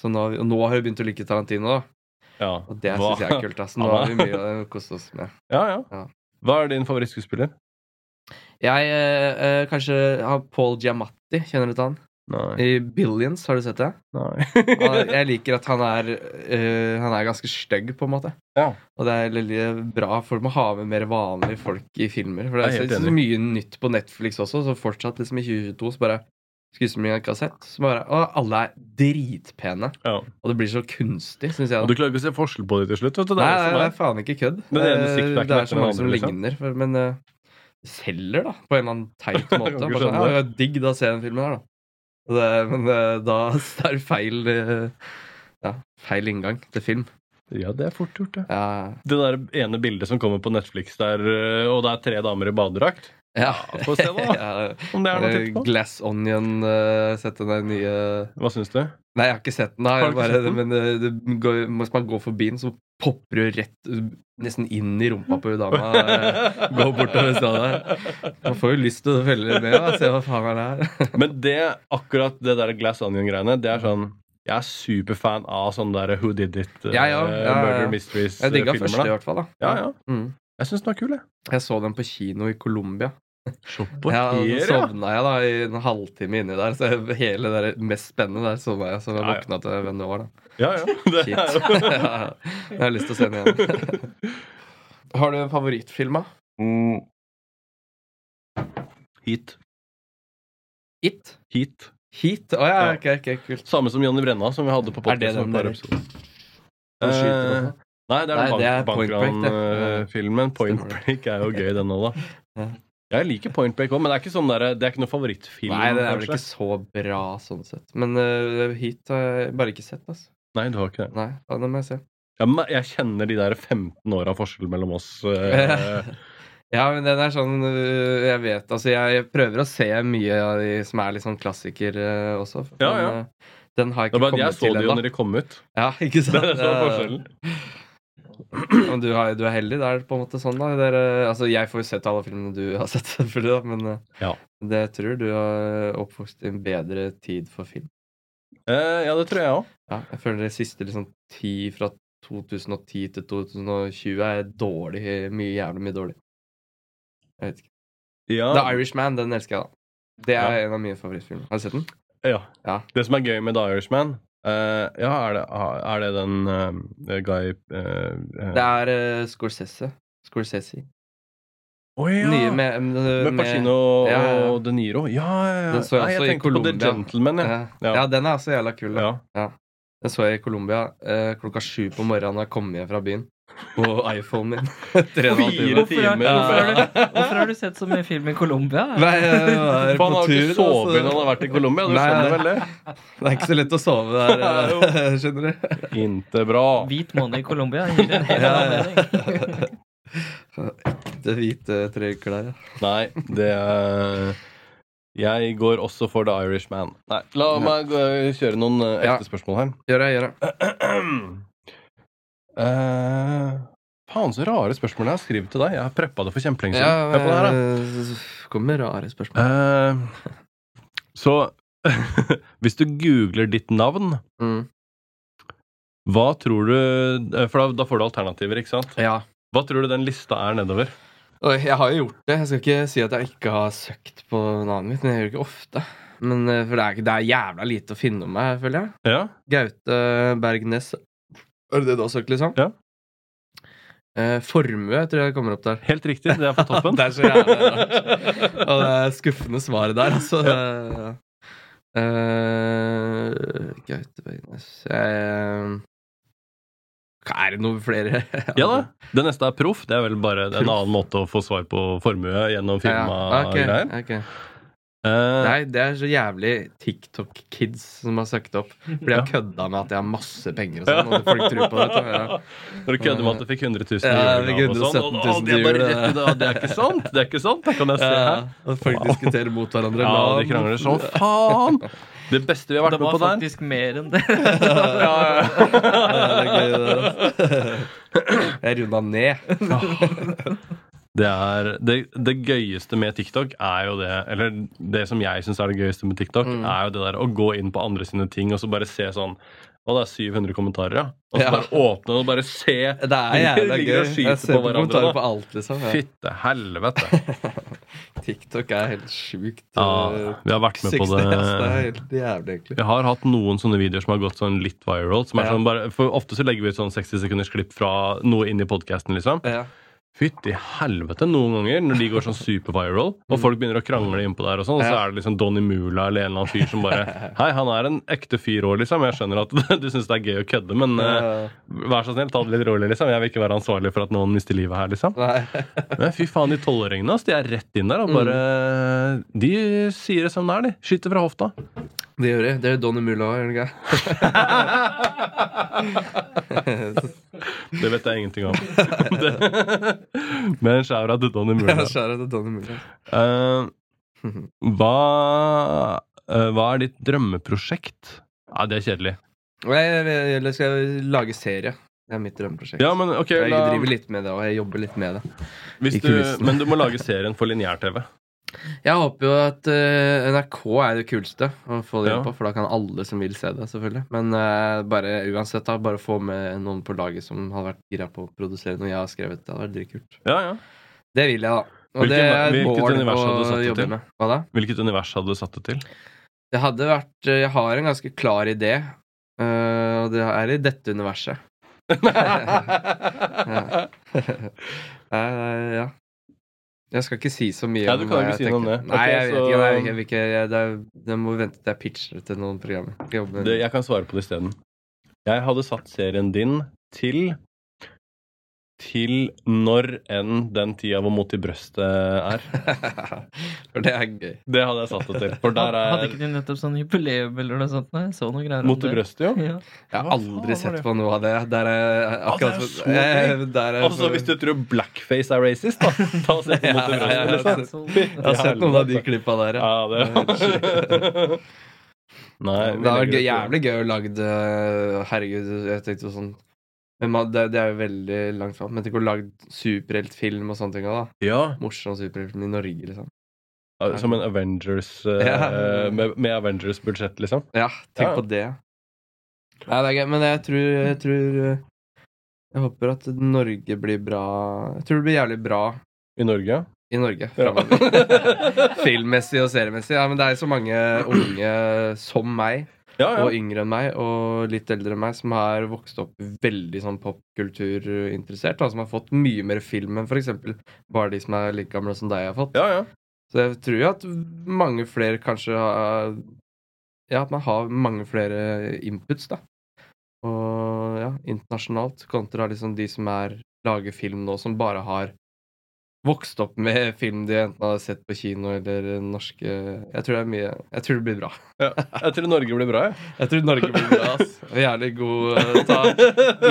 C: Så nå, har vi- og nå har hun begynt å like Tarantino, da.
A: Ja,
C: Og det
A: Hva-
C: syns jeg er kult. ass. Nå
A: Ja,
C: har vi mye å koste oss med.
A: Ja, ja.
C: Ja.
A: Hva er din favorittskuespiller?
C: Jeg eh, eh, kanskje har Paul Giamatti. Kjenner du til han?
A: Nei.
C: I Billions, har du sett det? Han- Jeg liker at han er, eh, han er ganske stygg, på en måte.
A: Ja.
C: Og det er veldig bra. Folk må ha med mer vanlige folk i filmer. For det
A: Jeg er
C: er
A: helt
C: så, så mye nytt på Netflix også, så fortsatt liksom i 2022 så bare Skuespillere jeg ikke har sett. Så bare, og alle er dritpene.
A: Ja.
C: Og det blir så kunstig, syns jeg.
A: Og
C: da.
A: du klarer ikke å se forskjell på dem til slutt? vet du. Det
C: nei,
A: er
C: nei,
A: det som
C: det
A: er.
C: er faen ikke kødd.
A: Den ene
C: Eh,
A: six-packen
C: det
A: etter
C: er så
A: den
C: mange
A: andre,
C: som
A: liksom.
C: ligner, for, men eh, det selger, da. På en eller annen teit
A: kan
C: måte.
A: ikke
C: Bare sånn,
A: skjønne
C: ja, det er digg da å se den filmen her, da. Og Det, men eh, da det er det feil eh, Ja, feil inngang til film.
A: Ja, det er fort gjort, det.
C: Ja,
A: Det der ene bildet som kommer på Netflix der, øh, og det er tre damer i badedrakt.
C: ja.
A: Få se, da.
C: Ja,
A: Om det er noe å
C: eller
A: titte på.
C: Glass Onion, eh, sett den der nye
A: Hva syns du?
C: Nei, jeg har ikke sett den, da.
A: Har du
C: Jeg
A: ikke
C: bare,
A: sett den?
C: men eh, det går, hvis man går forbi den, så popper du rett eh, nesten inn i rumpa på hun dama. eh. Gå bortover stedet. Man får jo lyst til å følge med og se hva faen er det her.
A: Men det, akkurat det der Glass Onion-greiene, det er sånn Jeg er superfan av sånne der Who Did It, øh,
C: Ja, ja, ja, ja.
A: Murder
C: Jeg digga første, i
A: Mysteries-filmer.
C: hvert fall. da
A: Ja, ja.
C: Mm.
A: Jeg syns den var kul, jeg.
C: Jeg så den på kino i Colombia.
A: Shopper,
C: Ja, og
A: ja.
C: så sovna jeg da i en halvtime inni der. Så jeg- hele det der mest spennende der sovna jeg. Så jeg
A: Ja, ja.
C: våkna til hvem det var, da.
A: ja, ja. Det
C: Shit.
A: er jo
C: Ja, jeg har lyst til å se den igjen. Har du en favorittfilm, da?
A: Heat.
C: It?
A: Heat.
C: Heat? Å ja,
A: Ja.
C: ok, ok, kult.
A: Samme som Jonny Brenna, som vi hadde på
C: Er det
A: podkasten.
C: den der? Nå skyter
A: Eh,
C: man.
A: nei, det er,
C: Nei,
A: den
C: det er
A: bank,
C: Point Break, det.
A: bankran-filmen. Point
C: Stemmer det.
A: Break er jo gøy, den òg, da.
C: Ja.
A: Jeg liker Point Break òg, men det er ikke, sånn der, det er ikke noe favorittfilm.
C: Nei, den er vel
A: kanskje.
C: ikke så bra sånn sett. Men eh, Heat har jeg bare ikke sett, altså.
A: Nei, du har ikke det.
C: Nei, ja, den må jeg se.
A: Jeg, me- jeg kjenner de der 15 åra forskjell mellom oss. eh,
C: Ja, men den er sånn øh, Jeg vet, altså jeg, jeg prøver å se mye av de som er litt sånn klassiker øh, også.
A: Ja,
C: men,
A: ja.
C: øh, Den har jeg
A: det var
C: ikke
A: at jeg
C: kommet
A: så
C: til
A: det jo
C: ennå.
A: når de kom ut.
C: Ja, ikke
A: Det
C: sant?
A: er så forskjellen.
C: Men du, har, du er heldig, det er på en måte sånn, da. Det er, øh, altså, jeg får jo sett alle filmene du har sett, selvfølgelig, da, men øh,
A: Ja.
C: det jeg tror du har eh, oppvokst i en bedre tid for film.
A: Eh, ja, det tror jeg òg.
C: Ja, jeg føler det siste liksom ti fra 2010 til 2020 er dårlig. Mye jævlig mye dårlig. Jeg vet ikke.
A: Ja.
C: The Irishman, den elsker jeg, da. Det er
A: Ja.
C: en av mine favorittfilmer. Har du sett den?
A: Ja.
C: Ja.
A: Det som er gøy med The Irishman eh, Ja, er det, er det den eh, Guy eh, eh,
C: Det er eh, Scorsese. Scorsese.
A: Å ja!
C: Nye med, eh, med,
A: Med Pacino
C: Ja, ja, ja.
A: og De Niro. Ja, ja, ja.
C: Den så jeg
A: Nei, jeg
C: også i
A: tenkte på The
C: Colombia.
A: Gentleman. Ja.
C: ja.
A: Ja.
C: ja, den er også jævla kul. Da.
A: Ja.
C: Den så jeg i Colombia eh, klokka sju på morgenen da jeg kom hjem fra byen. Og iPhonen min. Tre og en halv
A: Fire
C: time.
B: Hvorfor har,
A: timer.
B: hvorfor, har
A: Ja.
B: du, hvorfor har du sett så mye film i Colombia?
C: Nei, jeg var
A: For han
C: på
A: har jo
C: tur.
A: ikke
C: da, så-
A: sovet når han har vært i Colombia. Du
C: Nei.
A: skjønner vel det?
C: Det er ikke så lett å sove der, eh, skjønner du.
A: Inte bra.
B: Hvit måned i Colombia gir en hel
C: Ja, ja.
B: anledning.
C: Det hvite treklær, ja.
A: Nei, det er Jeg går også for The Irishman. Nei, la meg gå- kjøre noen eh,
C: Ja.
A: ekte spørsmål her.
C: Gjør det, gjør det.
A: Eh, faen, så rare spørsmål jeg har skrevet til deg. Jeg har preppa det for kjempelenge
C: Ja,
A: siden. Hør på det her, da.
C: eh, kommer rare spørsmål.
A: Eh, så hvis du googler ditt navn,
C: Mm.
A: hva tror du eh, For da, da får du alternativer, ikke sant?
C: Ja.
A: Hva tror du den lista er nedover?
C: Oi, jeg har jo gjort det. Jeg skal ikke si at jeg ikke har søkt på navnet mitt. Men jeg gjør det ikke ofte. Men, eh, for det er, ikke- det er jævla lite å finne om meg, føler jeg.
A: Ja,
C: Gaute Bergnes. Er det det du har søkt, liksom?
A: Ja.
C: Eh, formue tror jeg kommer opp der.
A: helt riktig. Det er på toppen.
C: det er så jævla rart. Og det er skuffende svaret der, altså. Eh, eh, Gaute Bergnes eh, Er det noen flere?
A: Ja da. Det neste er proff. Det er vel bare en annen måte å få svar på formue gjennom
C: Ja,
A: firmagreier.
C: ok, ok.
A: Eh,
C: Det er, det er så jævlig TikTok-kids som har søkt opp. For de har kødda med at jeg har masse penger og sånn. Og folk tror på det. vet du. Ja.
A: Når du kødder med at du fikk 100 000
C: Ja,
A: i
C: jeg fikk
A: julegave og sånn.
C: 117
A: Og, å,
C: 000
A: det er bare
C: i
A: rett
C: jule.
A: ut, og det er ikke sant! Det er ikke sant, det kan jeg se her.
C: At folk diskuterer mot hverandre.
A: Ja,
C: La-
A: de krangler som faen! Det beste vi har vært
B: Det
A: med
B: var
A: på der
B: faktisk mer enn det.
C: Ja, det er gøy, det. Jeg runda ned.
A: det, er, det, det gøyeste med TikTok er jo det Eller det som jeg syns er det gøyeste med TikTok,
C: Mm.
A: er jo det der å gå inn på andre sine ting og så bare se sånn Å, det er 700 kommentarer, ja. Og så
C: Ja.
A: bare åpne og bare se.
C: Det er jævla gøy.
A: Ligger og skyter
C: Jeg
A: på
C: ser på
A: hverandre, da.
C: kommentarer på alt, liksom. Ja.
A: Fytte helvete.
C: TikTok er helt sjukt.
A: Ja,
C: eh,
A: vi har vært med på
C: suksess. Det er
A: det.
C: helt jævlig, egentlig.
A: Vi har hatt noen sånne videoer som har gått sånn litt viral. Som er
C: Ja.
A: sånn bare, for Ofte så legger vi ut sånn 60 sekunders klipp fra noe inn i podkasten. Liksom.
C: Ja.
A: Fytti helvete noen ganger når de går sånn superviral, og folk begynner å krangle innpå der, og sånn, og så
C: Ja.
A: er det liksom Donny Mula eller en eller annen fyr som bare Hei, han er en ekte fyr òg, liksom. Jeg skjønner at du syns det er gøy å kødde, men eh,
C: Eh,
A: vær så snill, ta det litt rolig, liksom. Jeg vil ikke være ansvarlig for at noen mister livet her, liksom.
C: Nei.
A: Men fy faen, de tolvåringene, altså. De er rett inn der og bare De sier det som det er, de. Skyter fra hofta.
C: Det gjør jeg. Det gjør Donny Mulla òg, gjør det ikke?
A: Det vet jeg ingenting om. Det- men skjæra til Donny Mula.
C: Ja, Skjæra til Donny Mulla.
A: Eh, hva, eh, hva er ditt drømmeprosjekt? Ja, det er kjedelig.
C: Nei, Eller skal jeg lage serie? Det er mitt drømmeprosjekt.
A: Ja, men ok
C: jeg
A: la,
C: driver litt med det, og jeg jobber litt med det.
A: hvis
C: i
A: du,
C: kulissene.
A: Men du må lage serien for lineær-TV.
C: Jeg håper jo at eh, NRK er det kuleste å få det
A: Ja.
C: inn på, for da kan alle som vil se det, selvfølgelig. Men eh, bare uansett, da, bare få med noen på laget som har vært gira på å produsere noe jeg har skrevet. Det hadde vært dritkult.
A: Ja, ja.
C: Det vil jeg, da. Og
A: Hvilken-
C: det er et
A: hvilket
C: mål
A: univers
C: å
A: hadde du satt det
C: jobbe
A: til?
C: med. Hva da?
A: Hvilket univers hadde du satt det til?
C: Det hadde vært eh, Jeg har en ganske klar idé, eh, og det er i dette universet.
A: ja.
C: Eh, ja. Jeg skal ikke si så mye
A: Ja, du kan
C: hva
A: ikke
C: jeg
A: si noe om
C: tenker.
A: det.
C: Nei,
A: Ok,
C: jeg vet
A: så-
C: ikke. Nei, jeg vil ikke jeg, det, er, det må vi vente til jeg pitcher til noen programmer. Jeg skal jobbe med-
A: Det, jeg kan svare på det isteden. Jeg hadde satt serien din til til når enn den tida hvor mot i brøstet er.
C: For det er gøy.
A: Det hadde jeg satt det til. For der
B: Hadde ikke
A: er
B: de nettopp sånn jubileum eller noe sånt? Nei, jeg så noe greier om
A: Mot i
B: det.
A: brøstet, jo.
B: Ja.
C: Jeg
A: Hva faen
C: har
A: var
C: aldri sett
A: det?
C: på noe av det. Der er akkurat
A: det er så
C: Eh, der er-
A: Altså, hvis du tror blackface er racist, da, ta og se på mot i
C: Ja, ja,
A: brøstet.
C: ja.
A: liksom.
C: Jeg har sett noen av de klippa der, ja.
A: Ja, det Nei,
C: Det
A: vi
C: hadde vært
A: legger
C: gøy-
A: ut-
C: jævlig gøy å lage det Herregud, jeg tenkte jo sånn men man, det, det er jo veldig langt fram. Men tenk å lage superheltfilm og sånne ting. også, da
A: Ja,
C: Morsom superheltfilm i Norge, liksom.
A: Som en Avengers eh,
C: Ja.
A: Med, med Avengers-budsjett, liksom.
C: Ja, tenk
A: Ja.
C: på det. Nei, det er gøy, men jeg tror, jeg tror eh, Jeg håper at Norge blir bra Jeg tror det blir jævlig bra
A: I Norge.
C: i Norge
A: Ja.
C: fremover. Filmmessig og seriemessig. Ja, men det er så mange unge som meg,
A: Ja, ja.
C: og yngre enn meg, og litt eldre enn meg, som har vokst opp veldig sånn popkulturinteressert, da, som har fått mye mer film enn f.eks. bare de som er like gamle som deg har fått.
A: ja, ja.
C: Så jeg tror jo at mange flere kanskje har Ja, at man har mange flere inputs, da. Og ja, internasjonalt kontra liksom de som er lager film nå, som bare har vokst opp med film de enten har sett på kino eller norske Jeg tror det er mye Jeg tror det blir bra.
A: Jeg tror Norge blir bra, jeg.
C: Jeg tror Norge blir bra, ass. Jævlig god eh, ta,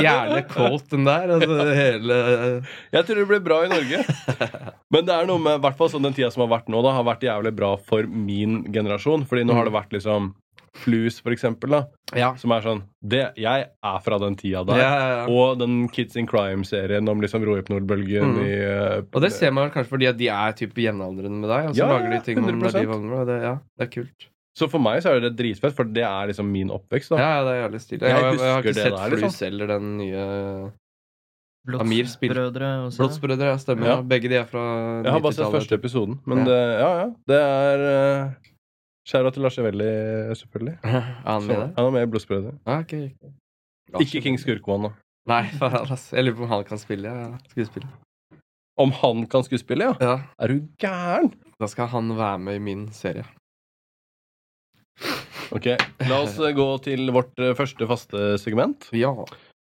C: Gjerne quote den der. Altså hele
A: Jeg tror det blir bra i Norge. Men det er noe med, i hvert fall sånn den tida som har vært nå, da, har vært jævlig bra for min generasjon. Fordi nå har
C: Mm.
A: det vært liksom Flus, for eksempel, da,
C: Ja.
A: som er sånn det, Jeg er fra den tida
C: ja,
A: der.
C: ja, ja.
A: Og den Kids in Crime-serien om liksom rohypnolbølgen
C: Mm.
A: i eh,
C: Og det ser man vel kanskje fordi at de er typ jevnaldrende med deg. Og så
A: Ja,
C: lager de ting om da
A: 100%.
C: de var unge. og Det, ja, det er kult.
A: Så for meg så er det dritfett, for det er liksom min oppvekst.
C: Ja,
A: da
C: ja, det er jævlig stilig.
A: Jeg
C: Jeg, jeg, har
A: husker
C: ikke
A: det
C: sett
A: der,
C: Flus
A: liksom.
C: eller den nye
B: Blods-
C: Amir spilte-
B: Brødre også.
C: Blodsbrødre. Ja, stemmer.
A: Ja.
C: Ja. Begge de er fra
A: Jeg har bare sett
C: 90-tallet,
A: første
C: typ.
A: episoden, men
C: Ja.
A: det, ja, ja, det er uh, Skjæra til Lars Evelli, selvfølgelig.
C: Er han med
A: Så-
C: der?
A: Han er med i Blodsbrødre.
C: Ja, ok, ok.
A: Ikke King Skurkmann, da.
C: Nei, faen, ass. Jeg lurer på om han kan spille ja. skuespill.
A: Om han kan skuespille, ja?
C: Ja,
A: Er du gæren?
C: da skal han være med i min serie.
A: Ok, La oss eh, gå til vårt eh, første faste segment.
C: Ja.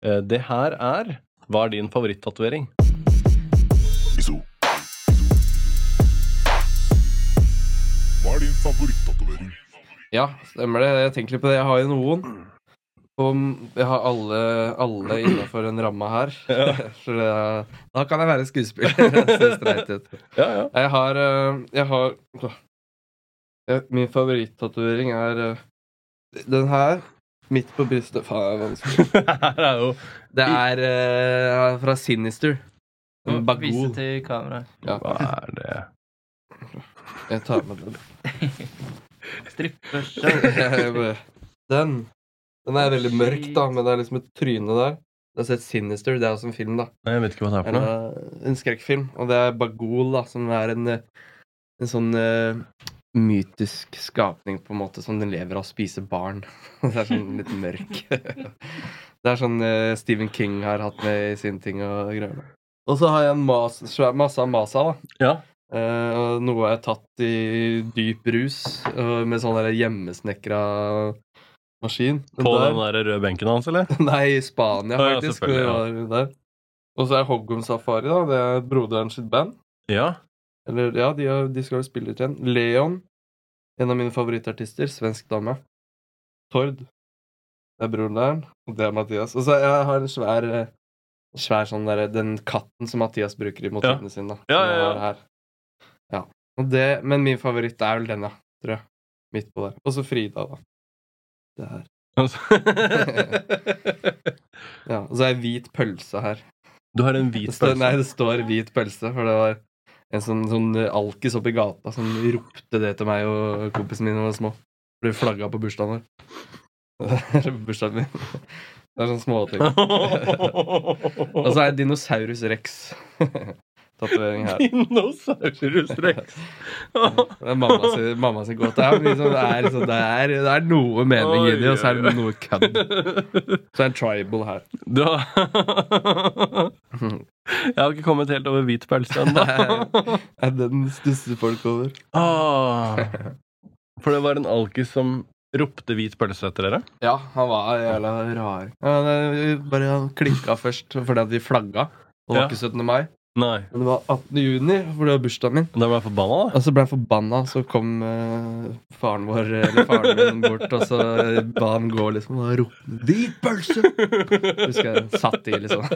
A: Eh, Det her er Hva er din favorittatovering?
D: Bisou. Hva er din favorittatovering?
C: Ja, stemmer det. Jeg tenker litt på det. Jeg har jo noen. Og jeg har alle, alle innafor en ramme her. Så det, da kan jeg være skuespiller. Det ser streit ut.
A: Ja, ja.
C: Jeg har, eh, jeg har åh. Jeg- Min favorittatovering er eh, den her. Midt på brystet. Faen, det er vanskelig.
A: Her er jo
C: Det er eh, fra Sinister. En
B: Og Vise
C: Bagul.
B: til kameraet.
C: Ja.
A: Hva er det
C: Jeg tar med den.
B: Strippeskjørt.
C: Jeg bare- Den. Den er veldig mørk, da, men det er liksom et tryne der. Du har sett Sinister. Det er også en film, da.
A: Nei, Jeg vet ikke hva det er for
C: En,
A: noe.
C: eh, en skrekkfilm. Og det er Bagul, da, som er en, eh, en sånn eh, mytisk skapning på en måte som den lever av å spise barn. det er sånn litt mørk. det er sånn eh, Stephen King har hatt med i sine ting og greier. Og så har jeg en mas, svær masse av masa, da.
A: Ja.
C: Eh, og noe jeg har tatt i dyp rus eh, med sånn der hjemmesnekra maskin.
A: På
C: Der-
A: den der røde benken hans, eller?
C: Nei, i
A: Ja,
C: Spania,
A: ja,
C: faktisk. hvor
A: selvfølgelig,
C: vi var der. Og så er Hoggum Safari, da. Det er broderen sitt band.
A: Ja.
C: Eller, ja, de, har, de skal jo spille ut igjen. Leon, en av mine favorittartister. Svensk dame. Tord. Det er broderen. Og det er Mathias. Og så jeg har en svær eh, Svær sånn derre Den katten som Mathias bruker i motivene sine, da.
A: Ja,
C: som jeg
A: ja, ja.
C: har her. ja. Og det, men min favoritt er vel denne, tror jeg. Midt på der. Og så Frida, da. Det her. Ja, og så er det hvit pølse her.
A: Du har en hvit
C: Det står, nei,
A: pølse.
C: det står hvit pølse, for det var en sånn, sånn alkis oppe i gata som ropte det til meg og kompisen min da vi var små. Ble flagga på bursdagen vår. Eller bursdagen min. Det er sånne småting. Og
A: Altså,
C: så er det Dinosaurus rex. Tatovering her.
A: Dinosaurus rex.
C: Det er mamma sin, mamma sin gåte. Ja, men liksom, det, er, liksom, det, er, det er noe mening i det, og så er det noe kødd. Så er det en tribal her.
A: Du har Jeg har ikke kommet helt over hvit pølse ennå.
C: Det er den stusser folk over.
A: Ah. For det var en alkis som ropte hvit pølse etter dere?
C: Ja, han var jævla rar. Ja, det- vi bare han klikka først fordi at vi flagga. Det var
A: Ja.
C: ikke 17. mai,
A: Nei.
C: men det var 18. juni, for det var bursdagen min.
A: Da ble jeg forbanna, da.
C: Og så ble jeg forbanna, så kom eh, faren vår, eller faren min, bort, og så ba han gå, liksom, og ropte 'Hvit pølse!' Husker jeg satt i, liksom.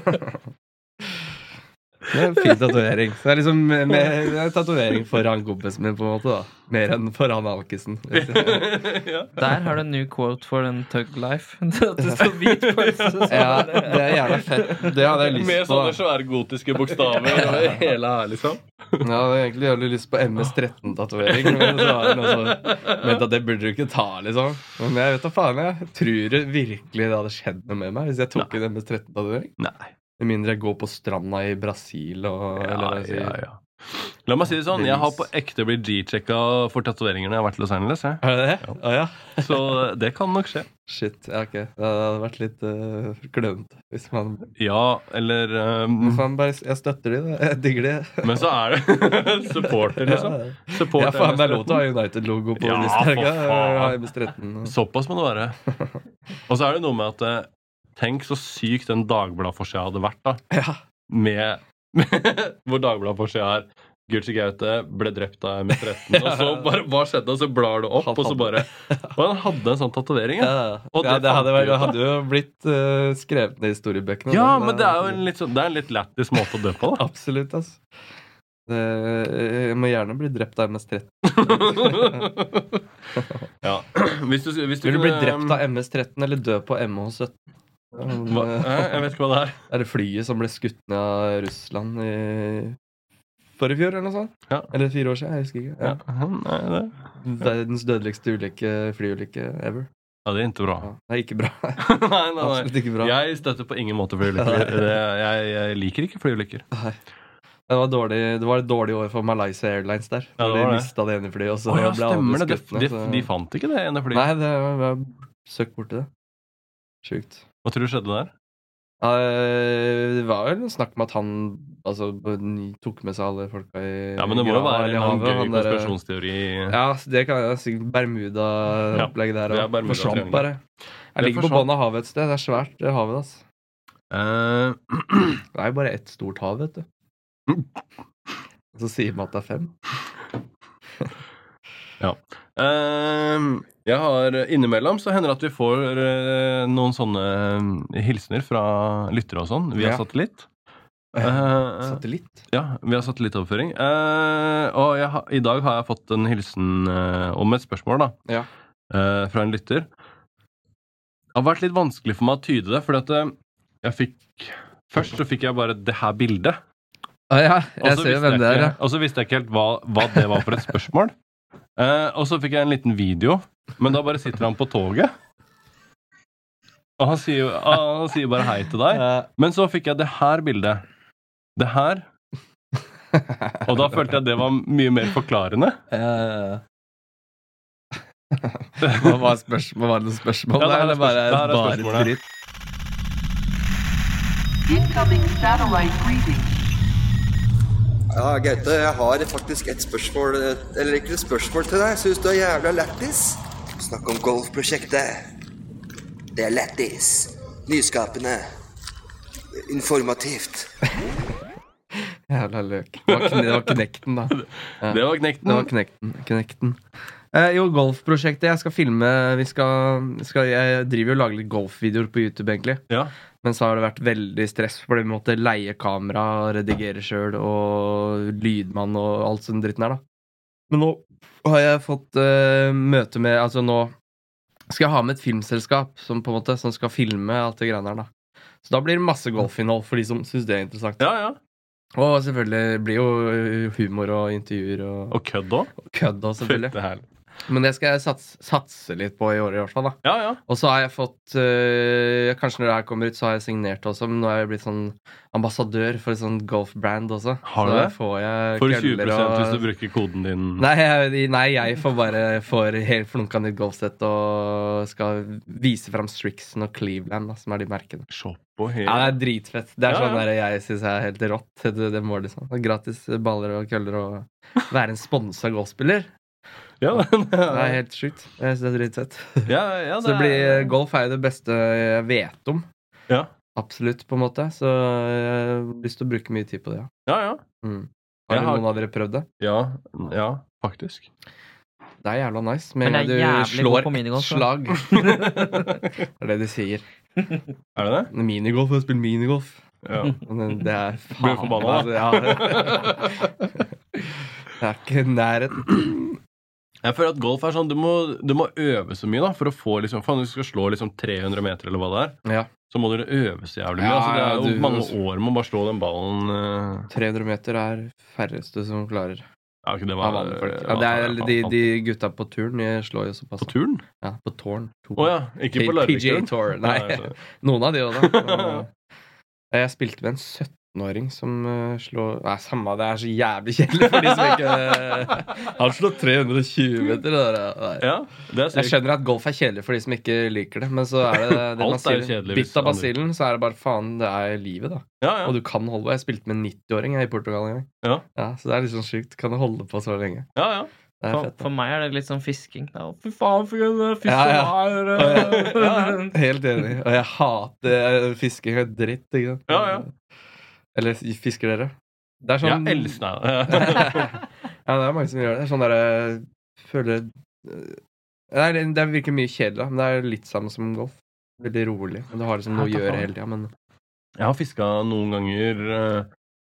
C: Det er en fin tatovering. Så det er liksom mer- det er en tatovering for han kompisen min, på en måte. da Mer enn for han alkisen.
B: Der har du en ny quote for den Tug Life. At det står hvit pølse. så
C: Ja,
B: er det-
C: det er jævla fett. Det hadde jeg lyst på.
A: Med
C: da.
A: sånne svære gotiske bokstaver over hele her, liksom.
C: Ja, jeg hadde egentlig jævlig lyst på MS-13-tatovering. Men så var det noen som mente at det burde du ikke ta, liksom. Men jeg vet da faen, jeg tror det virkelig det hadde skjedd noe med meg hvis jeg tok en MS-13-tatovering.
A: Nei.
C: Med mindre jeg går på stranda i Brasil og eller
A: Ja,
C: hva jeg sier.
A: ja, ja. La meg si det sånn, jeg har på ekte blitt g-checka for tatoveringene jeg har vært i Los Angeles. Jeg.
C: Er det det? Å ja.
A: Så det kan nok skje.
C: Shit. Ja, ok. Det hadde vært litt uh, klønete hvis man
A: Ja, eller um,
C: Faen, bare, jeg støtter de, da. Jeg digger de.
A: Men så er det supporter, liksom.
C: Ja,
A: Support
C: ja, faen, det
A: MS13.
C: er lov til å ha United-logo på
A: Ja,
C: lista.
A: for
C: ikke? Ja,
A: faen.
C: MS-13.
A: Såpass må det være. Og så er det noe med at eh, Tenk så sykt den Dagbladet-forsida hadde vært, da.
C: Ja.
A: Med, hvor Dagbladet-forsida er Gucci Gaute ble drept av M13. Og så bare, hva skjedde? Og så blar du opp,
C: Han
A: og så
C: hadde-
A: bare Og han hadde en sånn tatovering, ja.
C: Ja,
A: Og
C: ja
A: det
C: det,
A: fant
C: hadde,
A: vi ut
C: vært- det
A: av.
C: hadde jo blitt eh, skrevet ned i historiebøkene.
A: Ja,
C: da.
A: men det er jo en litt, sånn, det er en litt lættis måte å dø på, da.
C: Absolutt, altså. Det, eh, jeg må gjerne bli drept av MS-13.
A: ja. Hvis du, hvis du
C: Vil du bli
A: kunne- um,
C: drept av MS-13 eller dø på MH17?
A: Hva?
C: eh,
A: Hæ? Jeg vet ikke hva det er.
C: Er det flyet som ble skutt ned av Russland i forrige fjor, eller noe sånt?
A: Ja.
C: Eller fire år siden? Jeg husker ikke.
A: Ja.
C: Ja.
A: Nei, det.
C: Verdens dødeligste ulykke, flyulykke ever.
A: ja, det er ikke bra.
C: Ja. Det er ikke bra.
A: nei, nei, nei.
C: Absolutt ikke bra.
A: Jeg støtter på ingen måte flyulykker. Det, jeg, jeg liker ikke flyulykker.
C: Det var, dårlig, det var et dårlig år for Malaysia Airlines der.
A: Ja, det
C: de
A: var det.
C: mista det ene flyet, og
A: Å
C: så
A: ja,
C: ble alle
A: stemmer det. De,
C: skutt ned.
A: de,
C: så-
A: de fant ikke det ene flyet.
C: Nei, det var søkt borti det. Sjukt.
A: Hva tror du skjedde der?
C: Ja, Det var vel en snakk om at han altså, tok med seg alle folka i
A: Ja, men det må jo
C: grava
A: være en
C: eller
A: eller annen
C: havet,
A: gøy
C: han derre-
A: konspirasjonsteori.
C: Ja, så det kan jeg sikkert Bermuda-opplegget der.
A: det er
C: og
A: Bermuda-triangelet.
C: forsvant bare.
A: Det
C: Jeg ligger på
A: forsvant.
C: bånn av havet et sted. Det er svært, det havet. ass.
A: Eh,
C: Det er jo bare ett stort hav, vet du. Og så sier man at det er fem.
A: Ehm, jeg har Innimellom så hender det at vi får eh, noen sånne eh, hilsener fra lyttere og sånn via
C: Ja.
A: satellitt. Eh,
C: Satellitt?
A: ja, via satellittoverføring. Eh, og jeg, har- i dag har jeg fått en hilsen eh, om et spørsmål, da.
C: Ja.
A: eh, fra en lytter. Det har vært litt vanskelig for meg å tyde det, fordi at eh, jeg fikk Først så fikk jeg bare det her bildet.
C: Ah, ja,
A: Og
C: jeg
A: så
C: ser jo
A: visste
C: hvem det er.
A: ikke-
C: Ja.
A: Og så visste jeg ikke helt hva, hva det var for et spørsmål. Eh, og så fikk jeg en liten video, men da bare sitter han på toget. Og han sier, jo- han sier bare hei til deg.
C: Eh,
A: Men så fikk jeg det her bildet. Det her. Og da følte jeg det var mye mer forklarende.
C: eh, Hva var, spørsmål, var det noe spørsmål
A: Ja, det
C: der,
A: er
C: eller
A: spørsmål- det
C: bare,
A: er
C: bare
A: spørsmål, ja.
C: dritt?
D: Incoming satellite greeting.
E: Ja, Gaute, jeg har faktisk et spørsmål Eller ikke et spørsmål til deg. Syns du er jævla lættis? Snakk om golfprosjektet. Det er lættis. Nyskapende. Informativt.
C: Jævla løk. Det var, kne, det var Knekten, da. Ja.
A: Det var knekten.
C: Det var Knekten. knekten. Eh, jo, golfprosjektet. Jeg skal filme vi skal, skal, Jeg driver jo og lager litt golfvideoer på YouTube, egentlig.
A: Ja.
C: Men så har det vært veldig stress, fordi vi måtte leie kamera, redigere sjøl og lydmann og alt sånn dritten her, da. Men nå har jeg fått eh, møte med Altså, nå skal jeg ha med et filmselskap som på en måte Som skal filme alt det greiene her, da. Så da blir det masse golfinnhold for de som syns det er interessant.
A: ja, ja.
C: Og selvfølgelig blir jo eh, humor og intervjuer og,
A: Og kødd òg.
C: og kødd og selvfølgelig. Men det skal jeg sats, satse litt på i år i hvert fall, da.
A: Ja, ja.
C: Og så har jeg fått øh, Kanskje når det her kommer ut, så har jeg signert også, men nå er jeg blitt sånn ambassadør for et sånt golfbrand også.
A: Har du
C: så
A: det?
C: da Får jeg
A: For
C: køller
A: 20 hvis du
C: og-
A: bruker koden din.
C: Nei jeg, nei, jeg får bare får helt flunka nytt golfsett og skal vise fram Strixen og Cleveland, da, som er de merkene.
A: Se på hele
C: Ja, det er dritfett. Det er
A: Ja,
C: sånn
A: ja.
C: der jeg syns er helt rått. Det, det må liksom. Gratis baller og køller og være en sponsa golfspiller.
A: Ja,
C: Det er helt sjukt. Jeg syns det er dritfett.
A: ja, ja,
C: Så det blir, golf er jo det beste jeg vet om.
A: Ja.
C: Absolutt, på en måte. Så jeg har lyst til å bruke mye tid på det. ja.
A: Ja, ja.
C: Mm.
A: Jeg
C: Har,
A: har-
C: noen av dere prøvd det?
A: Ja, ja faktisk.
C: Det er jævla nice.
B: Men
C: Med en
B: jeg er
C: gang du
B: jævlig god
C: slår
B: på
C: ett
B: minigolf, da.
C: slag. det er det de sier.
A: Er det det?
C: Minigolf. Jeg spiller minigolf.
A: Ja.
C: Men det er
A: Blir
C: faen altså,
A: du forbanna, da?
C: ja. Det er ikke i nærheten.
A: Jeg føler at golf er sånn Du må, du må øve så mye da for å få liksom Faen, hvis du skal slå liksom 300 meter eller hva det er,
C: Ja.
A: så må dere øve så jævlig mye.
C: Ja,
A: altså, det er
C: ja,
A: jo
C: du-
A: mange år med å bare slå den ballen eh,
C: 300 meter er færreste som klarer.
A: Ja, ikke det
C: Av
A: var
C: vanlige folk. Ja, det er, de, de gutta på turn de slår jo såpass.
A: På turn?
C: Ja, på tårn.
A: Å ja. Ikke på altså.
C: PGA
A: Larvik-turn.
C: Tour.
A: Nei,
C: Nei.
A: så-
C: Noen av de òg, da. Men, eh, Jeg spilte med en 17-åring som eh, slår Nei, samme det er så jævlig kjedelig for de som ikke Han slår 320 meter. det der, ja. Nei.
A: Ja, det er
C: Jeg
A: sykt.
C: skjønner at golf er kjedelig for de som ikke liker det, men så er det det man
A: Alt er jo
C: sier.
A: kjedelig hvis
C: Bitt av
A: andre-
C: basillen, så er det bare faen, det er livet, da.
A: Ja, ja.
C: Og du kan holde på. Jeg spilte med en 90-åring jeg, i Portugal en gang.
A: Ja.
C: Så det er litt sånn sjukt. Kan du holde på så lenge?
A: ja, ja.
C: Det er
B: For,
C: fett. da.
B: for meg er det litt sånn fisking. Da. Fy faen, for en fisk
C: Ja, ja.
B: det
C: Og
B: var,
C: jeg-
B: eh.
C: ja, Helt enig. Og jeg hater fisking. Det er dritt. Ikke sant?
A: Ja, ja.
C: Eller fisker dere? Det er sånn
A: Jeg elsker
C: ja, det er mange som gjør det. Det er Sånn derre Føler eh, det, er, det virker mye kjedelig, da, men det er litt samme som golf. Veldig rolig. Men Du har liksom noe å
A: Ja,
C: gjøre
A: faen.
C: hele tida, men
A: Jeg har fiska noen ganger eh,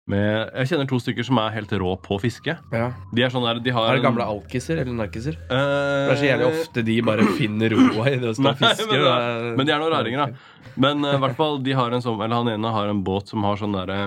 A: med Jeg kjenner to stykker som er helt rå på å fiske.
C: ja.
A: De er sånn der de har
C: Er det
A: en-
C: gamle alkiser eller narkiser?
A: Eh,
C: Det er så jævlig ofte de bare finner roa i det å stå og
A: Nei,
C: fiske.
A: men det er-
C: og-
A: men de er noen raringer, da. Men eh, i hvert fall, de har en sånn, eller han ene har en båt som har sånn derre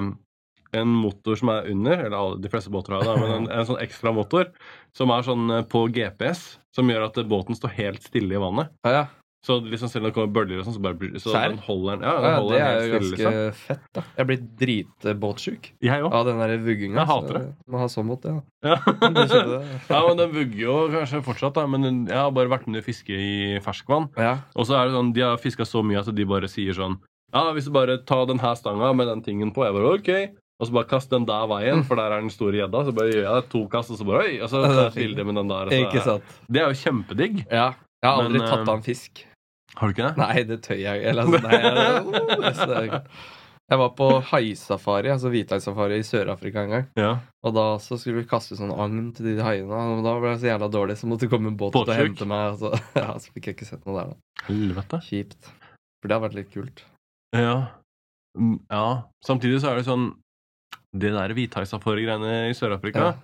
A: En motor som er under, eller alle, de fleste båter har det, men en, en sånn ekstra motor som er sånn eh, på GPS, som gjør at eh, båten står helt stille i vannet.
C: Ja, ja.
A: Så liksom selv om det kommer bølger og sånn, så bare blir- så
C: Serr?
A: den holder den ja, den
C: Ja,
A: holder
C: det
A: den
C: er
A: helt
C: jo
A: stille.
C: ganske
A: Liksom.
C: fett, da. Jeg er blitt dritbåtsjuk
A: Jeg òg.
C: av den der vugginga.
A: Jeg hater det.
C: så Må ha sånn båt, ja.
A: Ja.
C: Du skjønner det.
A: ja, men den vugger jo kanskje fortsatt, da. Men den, jeg har bare vært med å fiske i ferskvann.
C: Ja.
A: Og så er det sånn, de har fiska så mye at de bare sier sånn Ja, hvis du bare tar den her stanga med den tingen på, jeg bare OK. Og så bare kast den der veien, for der er den store gjedda. Så bare gjør jeg to kast, og så bare Oi! Og så tar jeg et bilde med den der. og så-
C: Ikke sant.
A: Det er jo kjempedigg.
C: Ja. Jeg har
A: Men,
C: aldri
A: eh,
C: tatt av en fisk.
A: Har du ikke det?
C: oh, Nei, det tør jeg Eller altså, nei, jeg, så det er- Jeg var på haisafari, altså hvithaisafari i Sør-Afrika en gang.
A: Ja.
C: Og da så skulle vi kaste sånn agn til de haiene. Og da ble jeg så jævla dårlig, så måtte det komme en båt og
A: Båtsjuk?
C: hente meg. Og så, ja, så fikk jeg ikke sett noe der, da.
A: Helvete.
C: Kjipt. For det hadde vært litt kult.
A: Ja. Mm, ja. Samtidig så er det sånn Det der hvithaisafari-greiene i Sør-Afrika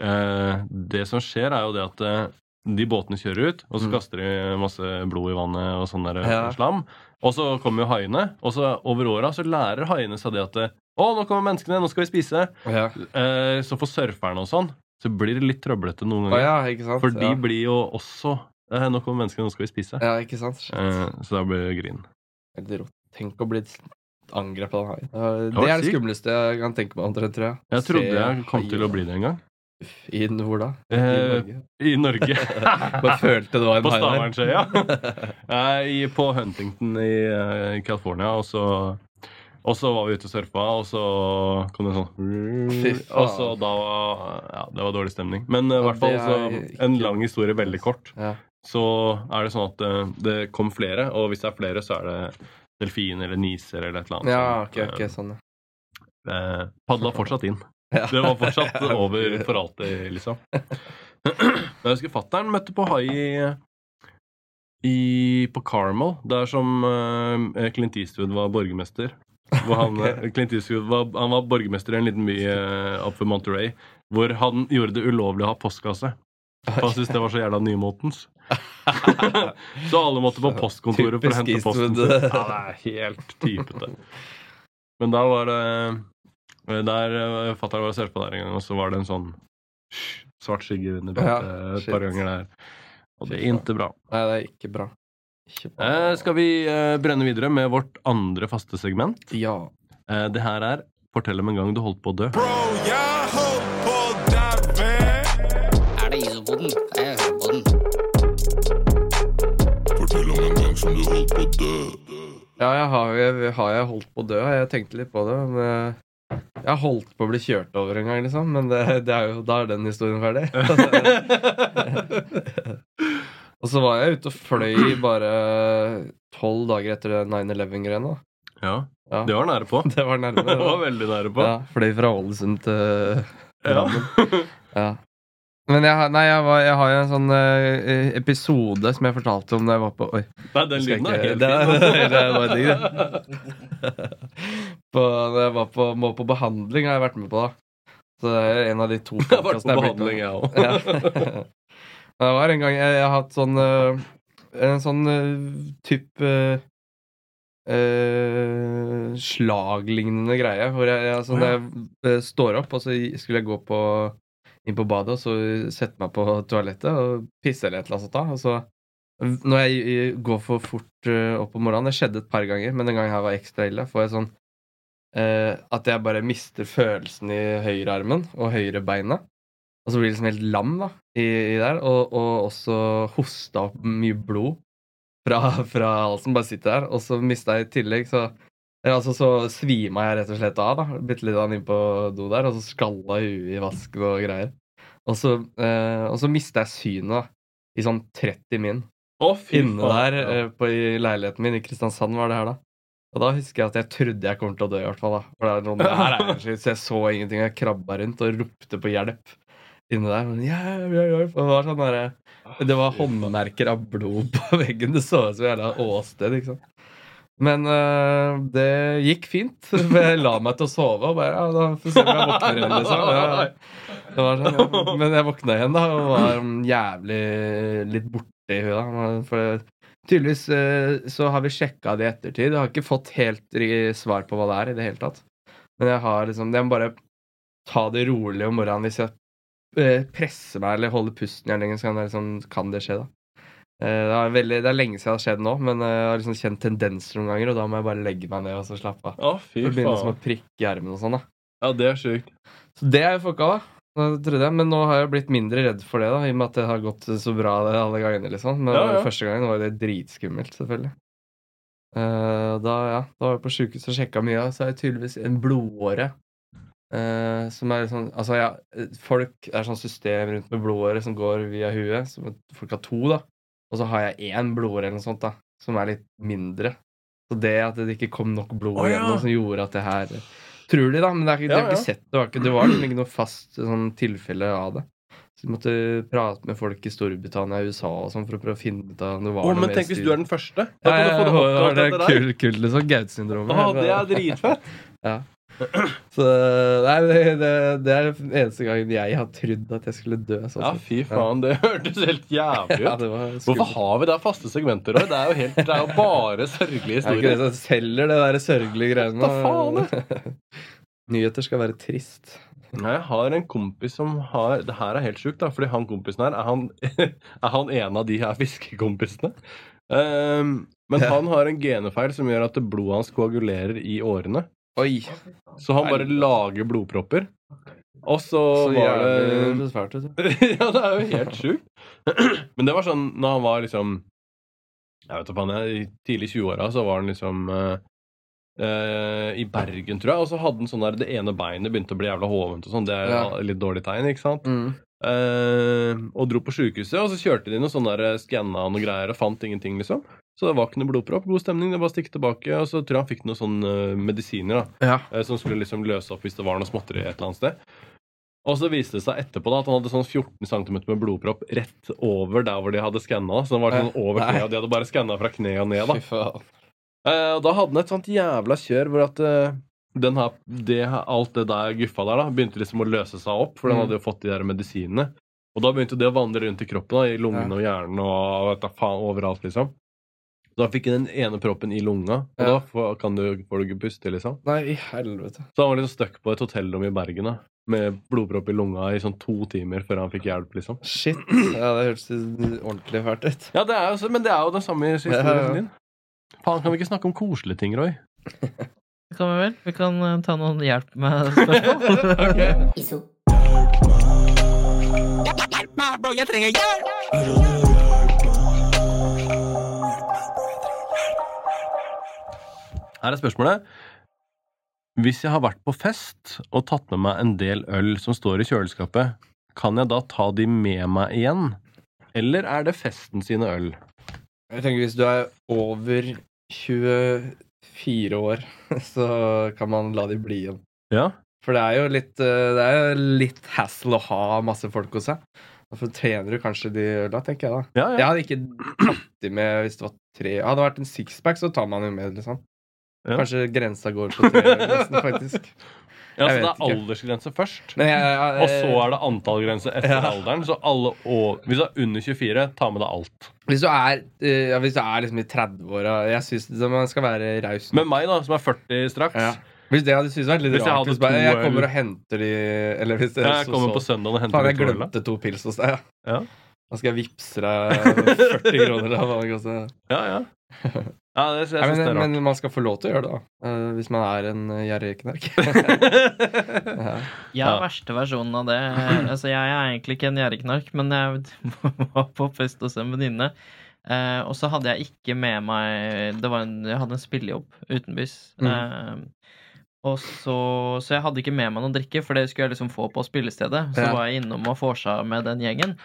A: eh, Det som skjer, er jo det at eh, de båtene kjører ut, og så
C: Mm.
A: kaster de masse blod i vannet og sånn der
C: Ja.
A: slam. Og så kommer jo haiene, og så over åra så lærer haiene seg det at eh, Å, nå kommer menneskene, nå skal vi spise.
C: Ja.
A: Eh, så for surferne og sånn, så blir det litt trøblete noen
C: Å
A: ganger.
C: ja, ikke sant?
A: For de
C: ja.
A: blir jo også eh, Nå kommer menneskene, nå skal vi spise.
C: ja, ikke sant? Shit.
A: Eh, så da blir det grin.
C: Helt rått. Tenk å bli angrepet av en hai. Eh,
A: var
C: Det er det
A: sykt.
C: skumleste jeg kan tenke meg, omtrent, tror jeg.
A: Jeg trodde
C: Se
A: jeg kom til å
C: haier.
A: bli det en gang.
C: I hvor da? I
A: Eh,
C: Norge?
A: I Norge.
C: Bare følte det var en
A: på
C: hai der.
A: Stavernsøya. Nei, i- På Huntington i eh, California. Og så, og så var vi ute og surfa, og så kom det
C: Fy
A: sånn
C: faen.
A: Og så da Ja, det var dårlig stemning. Men eh, i
C: Ja,
A: hvert fall
C: det
A: så,
C: er ikke-
A: en lang historie, veldig kort.
C: Ja.
A: Så er det sånn at eh, det kom flere, og hvis det er flere, så er det delfiner eller niser eller et eller annet.
C: ja,
A: sånt.
C: ok, ok, sånn, ja.
A: Eh, Padla fortsatt inn.
C: Ja.
A: Det var fortsatt over for alltid, liksom. Men jeg husker fattern møtte på hai i, i, på Carmel, der som eh, Clint Eastwood var borgermester. Hvor han, eh,
C: Ok.
A: Clint Eastwood var, han var borgermester i en liten by eh, oppe ved Monterey, hvor han gjorde det ulovlig å ha postkasse. For han syntes det var så jævla nymotens. så alle måtte på postkontoret for å hente
C: Typisk
A: posten.
C: Eastwood.
A: sin. Ja, det er helt typete. Men da var det Der eh, fatter'n var og surfa der en gang, og så var det en sånn svart skygge under beltet
C: Ja,
A: et par
C: shit.
A: ganger der. Og det er
C: Fy faen.
A: ikke bra.
C: Nei, det er ikke bra. Ikke bra.
A: Eh, skal vi eh, brenne videre med vårt andre faste segment?
C: Ja.
A: Eh, det her er Fortell om en gang du holdt på å dø.
F: Er det is og boden? Jeg hører på den.
G: Fortell om en gang som du holdt på å dø.
C: Ja, jeg har, jeg, har jeg holdt på å dø? Jeg tenkte litt på det. Men eh, jeg har holdt på å bli kjørt over en gang, liksom. Men det, det er jo, da er den historien ferdig. og så var jeg ute og fløy bare tolv dager etter 9-11-greiene.
A: Ja,
C: Ja,
A: det var nære på.
C: det var nærme.
A: Det
C: det
A: var veldig nære på.
C: Ja, fløy fra Ålesund til
A: Ja.
C: Ja. Men jeg, har- nei, jeg, var, jeg har jo en sånn eh, episode som jeg fortalte om da jeg var på Oi.
A: Nei, den
C: Skal
A: lyden er
C: ikke-
A: helt
C: det er-
A: fin. altså.
C: det er bare digg, på, da jeg var på, må på behandling, har jeg vært med på. da Så det er en av de to
A: Jeg har vært på
C: podcastene jeg
A: behandling,
C: har blitt med
A: jeg òg.
C: ja. Det var en gang jeg, jeg har hatt sånn øh, En sånn øh, type øh, øh, slaglignende greie. Hvor jeg, jeg, sånn, jeg øh, står opp, og så skulle jeg gå på, inn på badet, og så sette meg på toalettet og pisse eller et eller annet sånt. da Og så når jeg øh, går for fort øh, opp om morgenen Det skjedde et par ganger, men den gangen her var ekstra ille. Får jeg sånn øh, at jeg bare mister følelsen i høyrearmen og høyrebeinet. Og så blir jeg liksom helt lam da, i, i der, og, og også hosta opp mye blod fra, fra halsen. Bare sitter der. Og så mista jeg i tillegg, så eller altså så svima jeg rett og slett av. da, Bitte litt av inn på do der, og så skalla huet i vasken og greier. Og så, eh, og så mista jeg synet da, i sånn 30 min.
A: Å, fy
C: Inne
A: faen.
C: der eh, på, i leiligheten min i Kristiansand var det her, da. Og da husker jeg at jeg trodde jeg kom til å dø, i hvert fall. da. For det er noen, det her er jo sjukt, Så jeg så ingenting, og jeg krabba rundt og ropte på hjelp inne der. Men, ja, ja, ja. Og det var sånn derre Det var håndmerker av blod på veggen. Det så ut som et jævla åsted, ikke sant. Men eh, det gikk fint. For jeg la meg til å sove og bare ja, da får vi se om jeg våkner igjen, liksom. Ja. Det var sånn, ja. Men jeg våkna igjen da og var mm, jævlig litt borte i huet. da. For tydeligvis eh, så har vi sjekka det i ettertid. Jeg har ikke fått helt ri- svar på hva det er i det hele tatt. Men jeg har liksom Jeg må bare ta det rolig om morgenen hvis jeg eh, presser meg eller holder pusten jævlig lenge, så kan det, liksom, kan det skje, da. Eh, Det er, veldig, det er lenge siden det har skjedd nå, men eh, jeg har liksom kjent tendenser noen ganger, og da må jeg bare legge meg ned og så slappe av.
A: Å, fy
C: Det begynner som
A: faen.
C: å prikke i armen og sånn, da.
A: Ja, det er sjukt.
C: Så det er jo fucka, da. Det trodde jeg, Men nå har jeg blitt mindre redd for det, da i og med at det har gått så bra det alle gangene. liksom Men
A: Ja, ja.
C: første gangen var jo det dritskummelt, selvfølgelig. Eh, da ja, da var jeg på sjukehuset og sjekka mye, og så er det tydeligvis en blodåre. eh, som er sånn Altså, ja, eh, folk Det er sånn system rundt med blodåre som går via huet. Som at folk har to, da. Og så har jeg én blodåre eller noe sånt, da. Som er litt mindre. Så det at det ikke kom nok blod
A: Å, ja.
C: igjennom, som gjorde at det her Tror de, da, men det er ikke, de
A: Ja,
C: har ikke
A: ja.
C: sett det. Det var, ikke, det var liksom ikke noe fast sånn, tilfelle av det. Så de måtte prate med folk i Storbritannia og USA og sånn for å prøve å finne ut av om det var
A: Å,
C: noe
A: men
C: mer
A: tenk hvis
C: studier.
A: du er den første! Da
C: Ja,
A: kan du
C: ja,
A: få det
C: ja,
A: oppkalt
C: det er
A: etter deg.
C: kult, kult, liksom. Gaut-syndromet.
A: Å, det er dritfett!
C: Så nei, det, det, det er den eneste gangen jeg har trodd at jeg skulle dø. sånn
A: Ja,
C: sett.
A: fy faen, det hørtes helt jævlig
C: Ja,
A: ut.
C: det var
A: Hvorfor
C: skummelt.
A: har vi da faste segmenter? Roy? Det er jo helt, det er jo bare sørgelige
C: Er det ikke
A: historier.
C: det som selger det der sørgelige greiene?
A: Hva
C: Nyheter skal være trist.
A: Nei, jeg har en kompis som har Det her er helt sjukt, da, fordi han kompisen her er han, er han en av de her fiskekompisene. Ehm, men
C: Ja.
A: han har en genefeil som gjør at blodet hans koagulerer i årene.
C: Oi!
A: Så han bare lager blodpropper. Og så,
C: Så
A: var
C: jævlig
A: det
C: svært, vet du.
A: Ja, det er jo helt sjukt. Men det var sånn når han var liksom Jeg vet da faen, jeg, i tidlig 20-åra så var han liksom eh, eh, I Bergen, tror jeg. Og så hadde han sånn der det ene beinet begynte å bli jævla hovent og sånn. Det er
C: Ja.
A: litt dårlig tegn, ikke sant?
C: Mm.
A: Eh, og dro på sjukehuset, og så kjørte de noe sånn der skanna og noe greier og fant ingenting, liksom. Så det var ikke noe blodpropp. God stemning, det var å stikke tilbake. Og så tror jeg han fikk noen sånne eh, medisiner da,
C: Ja.
A: eh, som skulle liksom løse opp hvis det var noe småtteri et eller annet sted. Og så viste det seg etterpå da at han hadde sånn 14 cm med blodpropp rett over der hvor de hadde skanna. Så den var sånn
C: Nei.
A: over kneet, og de hadde bare skanna fra kneet og ned. da
C: Fy faen.
A: Eh, Og da hadde han et sånt jævla kjør hvor at eh, den her, det, her- alt det der guffa der da, begynte liksom å løse seg opp, for den
C: Mm.
A: hadde jo fått de der medisinene. Og da begynte det å vandre rundt i kroppen, da, i lungene og hjernen og vet da faen overalt, liksom. Da fikk han den ene proppen i lunga, og
C: Ja.
A: da får, kan du, får du ikke puste, liksom.
C: Nei, i helvete.
A: Så han var liksom stuck på et hotellrom i Bergen da, med blodpropp i lunga i sånn to timer før han fikk hjelp, liksom.
C: Shit. Ja, det hørtes ordentlig fælt ut.
A: Ja, det er jo, så- men det er jo den samme historien
C: Ja, ja.
A: som din. Faen, kan vi ikke snakke om koselige ting, Roy?
B: Det kan vi vel. Vi kan eh, ta noen hjelp med spørsmål.
A: Her er spørsmålet. Hvis jeg har vært på fest og tatt med meg en del øl som står i kjøleskapet, kan jeg da ta de med meg igjen? Eller er det festen sine øl?
C: Jeg tenker hvis du er over 24 år, så kan man la de bli igjen.
A: Ja.
C: For det er jo litt, eh, det er jo litt hassle å ha masse folk hos seg. Derfor tjener du kanskje de øla, tenker jeg da.
A: Ja,
C: Jeg
A: ja.
C: hadde ikke tatt de med hvis det var tre Hadde det vært en sixpack, så tar man jo med, liksom.
A: Ja.
C: Kanskje grensa går på tre, øl, nesten, faktisk.
A: ja så
C: jeg
A: det
C: vet
A: er
C: ikke.
A: aldersgrense først.
C: Men jeg, jeg,
A: Og så er det antallgrense etter
C: Ja.
A: alderen. Så alle å- Hvis du er under 24, ta med deg alt.
C: Hvis du er, eh, ja, hvis du er liksom i 30-åra Jeg syns man skal være raus. nå.
A: Med meg, da, som er 40 straks.
C: Ja. Hvis det hadde syntes vært litt
A: Hvis jeg
C: rart
A: hadde
C: hvis bare,
A: to
C: Jeg
A: øl-
C: kommer og henter de Eller hvis det
A: Jeg
C: så-
A: kommer på
C: så-
A: søndag og
C: Faen,
A: henter
C: jeg
A: ut øla.
C: glemte to pils hos deg, ja.
A: Ja.
C: Da skal jeg vippse deg 40 kroner. Da, hva det koster.
A: Ja, ja. ja det, jeg
C: Nei,
A: synes det
C: men,
A: er rart.
C: men man skal få lov til å gjøre det, da. Eh, hvis man er en eh, gjerrig knerk. ja.
B: Jeg er
A: Ja.
B: verste versjonen av det. Altså, jeg er egentlig ikke en gjerrigknark, men jeg var på fest hos en venninne. Eh, og så hadde jeg ikke med meg det var en, Jeg hadde en spillejobb utenbys. Eh, og så, så jeg hadde ikke med meg noe drikke, for det skulle jeg liksom få på spillestedet. Så
C: Ja.
B: var jeg innom og vorsa med den gjengen.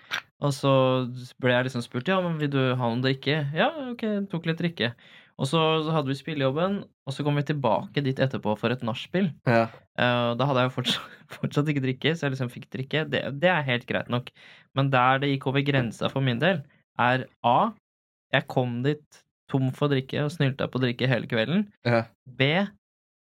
B: Og så ble jeg liksom spurt ja, men vil du ha noe drikke. Ja, ok, tok litt drikke. Og så hadde vi spillejobben, og så kom vi tilbake dit etterpå for et nachspiel.
C: Ja.
B: Eh, og da hadde jeg jo fortsatt, fortsatt ikke drikke, så jeg liksom fikk drikke. Det, det er helt greit nok. Men der det gikk over grensa for min del, er A. Jeg kom dit tom for drikke og snylta på drikke hele kvelden.
C: Ja.
B: B.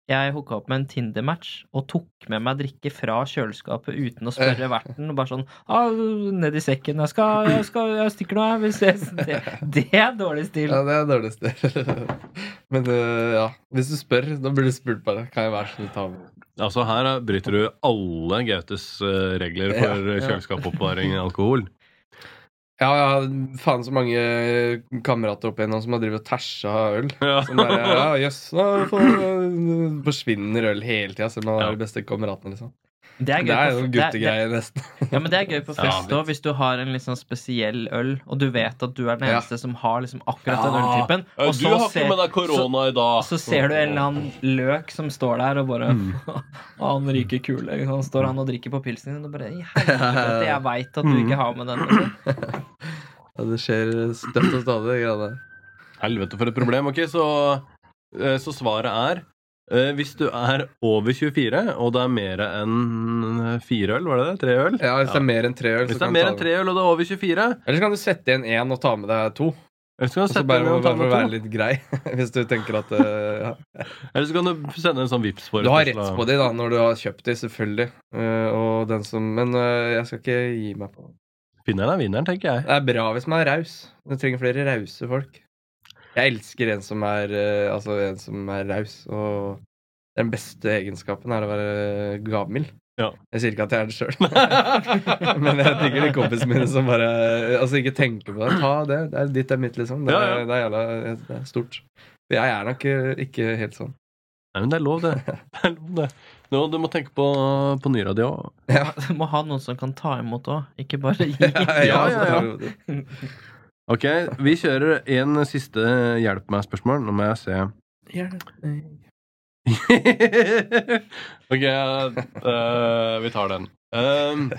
B: Jeg hooka opp med en Tinder-match og tok med meg drikke fra kjøleskapet uten å
C: Eh.
B: spørre verten. Og bare sånn «Ah, 'Ned i sekken. Jeg skal, jeg skal Jeg stikker nå, jeg. Vi ses.' Det, det er dårlig stil.
C: ja, det er dårlig sted. Men eh, ja, hvis du spør, da blir du spurt bare. Kan jeg være så snill ta med?
A: Altså Her er- bryter du alle Gautes eh, regler for
C: Ja,
A: eh,
C: ja.
A: kjøleskapsoppbevaring av alkohol.
C: Ja, jeg har faen så mange kamerater opp igjennom som har drevet og tæsja øl.
A: Ja.
C: Som bare, ja, jøss, nå får- forsvinner øl hele tida, selv om man
A: Ja.
C: er de beste kameratene. liksom.
B: Det
C: Det er jo
B: på-
A: altså.
C: en
B: det er- det-
C: guttegreie, nesten.
B: Ja, men det er gøy på
A: Ja,
B: fest
A: litt.
B: òg, hvis du har en litt sånn spesiell øl, og du vet at du er den
C: Ja.
B: eneste som har liksom akkurat den øltypen,
A: Ja,
B: og
A: du
B: så
A: har ikke
B: ser,
A: med deg korona i dag.
B: så ser du en eller annen løk som står der og bare
A: Mm.
B: «Å, Han ryker kule. ikke sant? Han står han og drikker på pilsen din, og bare I helvete, jeg veit at du
A: Mm.
B: ikke har med den. liksom.»
C: Ja, det skjer støtt og stadig. det greiene der.
A: Helvete, for et problem. Ok, Så Eh, Så svaret er eh, hvis du er over 24, og det er mer enn fire øl, var det det? Tre øl?
C: Ja, Hvis det er mer enn tre øl,
A: Hvis
C: så
A: det er
C: kan du
A: mer
C: ta
A: enn
C: det.
A: tre øl, og det er over 24,
C: Eller så kan du sette igjen én og ta med deg to.
A: eller så kan
C: Og
A: du
C: så
A: sette
C: bare,
A: den ned og ta
C: bare for å være
A: med to.
C: litt grei. Hvis du tenker at eh, ja.
A: Eller så kan du sende en sånn vips for
C: Du har rett på de da, når du har kjøpt de, selvfølgelig. Eh, og den som, men eh, jeg skal ikke gi meg på det.
A: Vinneren er vinneren, tenker jeg.
C: Det er bra hvis man er raus. Du trenger flere rause folk. Jeg elsker en som er eh, altså en som er raus. Og den beste egenskapen er å være gavmild.
A: Ja.
C: Jeg sier ikke at jeg er det sjøl, men jeg digger de kompisene mine som bare Altså ikke tenker på det. Ta det. det er Ditt er mitt, liksom. Det er,
A: Ja, ja.
C: Det er, jævla, det er stort. Jeg er nok eh, ikke helt sånn.
A: Nei, men det er lov, det. det, er lov, det. Nå, du må tenke på, på nyra di òg.
B: Du må ha noen som kan ta imot òg, ikke bare gi.
A: Ja,
C: altså,
A: ja, ja.
C: så-
A: Ok, vi kjører en siste hjelp meg-spørsmål. Nå må jeg se Ok, eh, vi tar den. Ehm,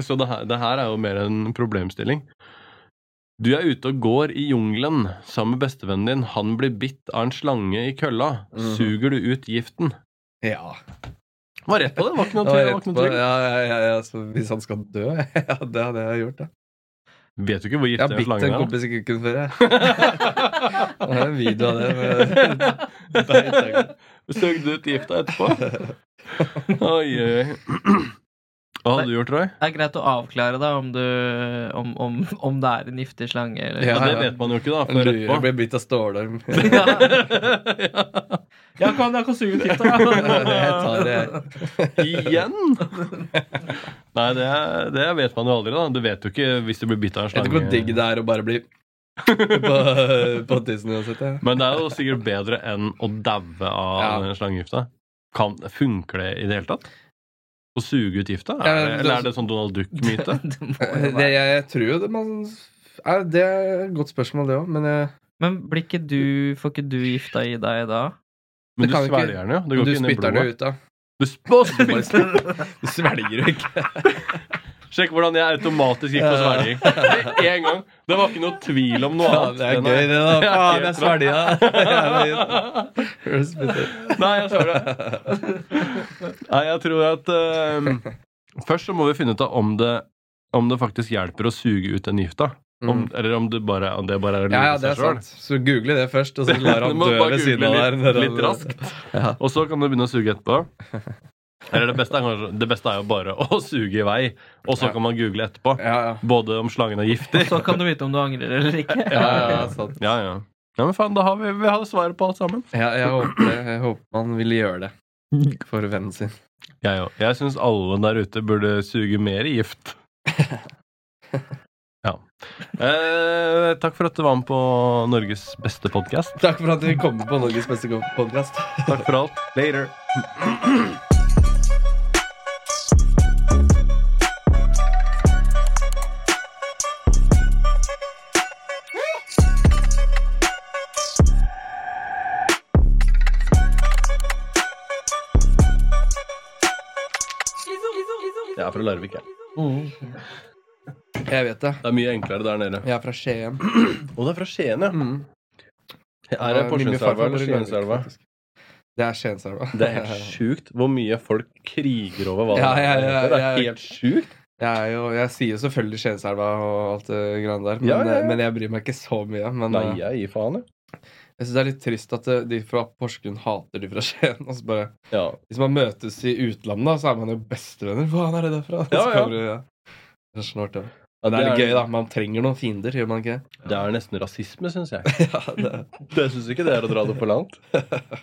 A: så det her, det her er jo mer en problemstilling. Du er ute og går i jungelen sammen med bestevennen din. Han blir bitt av en slange i kølla.
C: Mhm.
A: Suger du ut giften?
C: Ja.
A: Var rett på det. Var ikke noe
C: Det var
A: tvil. Var
C: rett
A: ikke
C: på.
A: noe tvil.
C: Ja, ja, ja, ja, så hvis han skal dø, ja, det hadde jeg gjort. Da.
A: Vet du ikke hvor
C: Jeg
A: giftig
C: har
A: den
C: bitt
A: slangen
C: en
A: er?
C: kompis i kukken før, jeg. Det er en video av det. men- Nei,
A: Søg du ut gifta etterpå? Oi, oi, oi. Hva hadde du gjort, Roy?
B: Det er greit å avklare da om, du, om, om, om det er en giftig slange. Eller.
A: Ja,
C: Ja,
A: det
C: ja.
A: vet man jo ikke, da.
C: Jeg
A: Før
C: lurer
A: etterpå.
C: blir bitt av stålorm.
A: ja.
B: Jeg kan, jeg kan suge ut gifta,
C: Jeg tar det.
A: Igjen? Nei, det, er- det vet man jo aldri, da. Du vet jo ikke hvis du blir bitt av en
C: Jeg vet ikke hvor digg
A: slange.
C: det er å bare bli på, på tissen uansett. jeg.
A: Men det er jo sikkert bedre enn å daue av
C: Ja.
A: den slangegifta. Kan, funker det i det hele tatt? Å suge ut gifta?
C: Ja,
A: Er det,
C: men
A: eller
C: det-
A: er det sånn Donald Duck-myte?
C: Det, jeg, jeg tror jo det man er, Det er et godt spørsmål, det òg, men eh, jeg,
B: Men blir ikke du, får ikke du gifta i deg da?
A: Men
C: Det
A: du
C: kan ikke-
A: svelger den jo. Det går
C: du
A: ikke inn i
C: spytter den
A: blodet.
C: jo ut, da.
A: Du sp- spytter den.
C: Du svelger jo ikke.
A: Sjekk hvordan jeg automatisk gikk på svelging. Med en gang. Det var ikke noe tvil om noe
C: Ja,
A: annet.
C: det er
A: Den er-
C: gøy, det, da. Faen, jeg svelga.
A: Nei, jeg svarer det. Nei, jeg tror at eh, Først så må vi finne ut av om det, om det faktisk hjelper å suge ut den gifta. Om, eller om det bare, om det bare er å
C: Mm. Ja,
A: lure
C: ja, det er
A: seg sjøl.
C: sant. Så google det først, og så lar
A: Du
C: han
A: må
C: dø
A: bare
C: ved siden av
A: google
C: der.
A: litt-
C: når han-
A: litt raskt.
C: Ja.
A: Og så kan du begynne å suge etterpå. Eller det beste er, kanskje, det beste er jo bare å suge i vei, og så
C: Ja.
A: kan man google etterpå.
C: Ja, ja.
A: Både om slangen er giftig
B: Så kan du vite om du angrer eller ikke.
C: Ja, ja, ja, sant.
A: Ja, ja. ja men faen, da har vi, vi har svaret på alt sammen.
C: Ja, jeg, håper det. jeg håper man vil gjøre det for vennen sin.
A: Jeg òg. Jeg syns alle der ute burde suge mer gift. Ja. Eh, takk for at du var med på Norges beste podkast.
C: Takk for at vi kom på Norges beste podkast.
A: Takk for alt. Later. Jeg er fra Larvik, jeg.
C: Jeg vet det.
A: Det er mye enklere der nede.
C: Jeg er fra Skien.
A: Og det er fra Skien, ja.
C: Mm.
A: Er det
C: Og min
A: Porsgrunnselva eller
C: far kommer fra Larvik,
A: Skienselva?
C: faktisk. Det er Skienselva.
A: Det er helt sjukt hvor mye folk kriger over hva
C: Ja,
A: det
C: ja,
A: er.
C: ja,
A: det er
C: ja.
A: helt sjukt.
C: Jeg, er jo, jeg sier jo selvfølgelig Skienselva og alt det greiene der, men,
A: Ja, ja, ja.
C: men jeg bryr meg ikke så mye. Men
A: Nei,
C: eh,
A: jeg gir faen, jeg.
C: jeg syns det er litt trist at eh, de fra Porsgrunn hater de fra Skien. Og så bare,
A: Ja.
C: hvis man møtes i utlandet, da, så er man jo bestevenner. Hva er det derfra?
A: Ja,
C: Så
A: ja.
C: kommer det- ja. Det er snart, ja.
A: Ja,
C: Det er litt gøy, da. Man trenger noen fiender, gjør man ikke?
A: Det er nesten rasisme, syns jeg.
C: Ja, det
A: Jeg syns ikke det er å dra det for langt.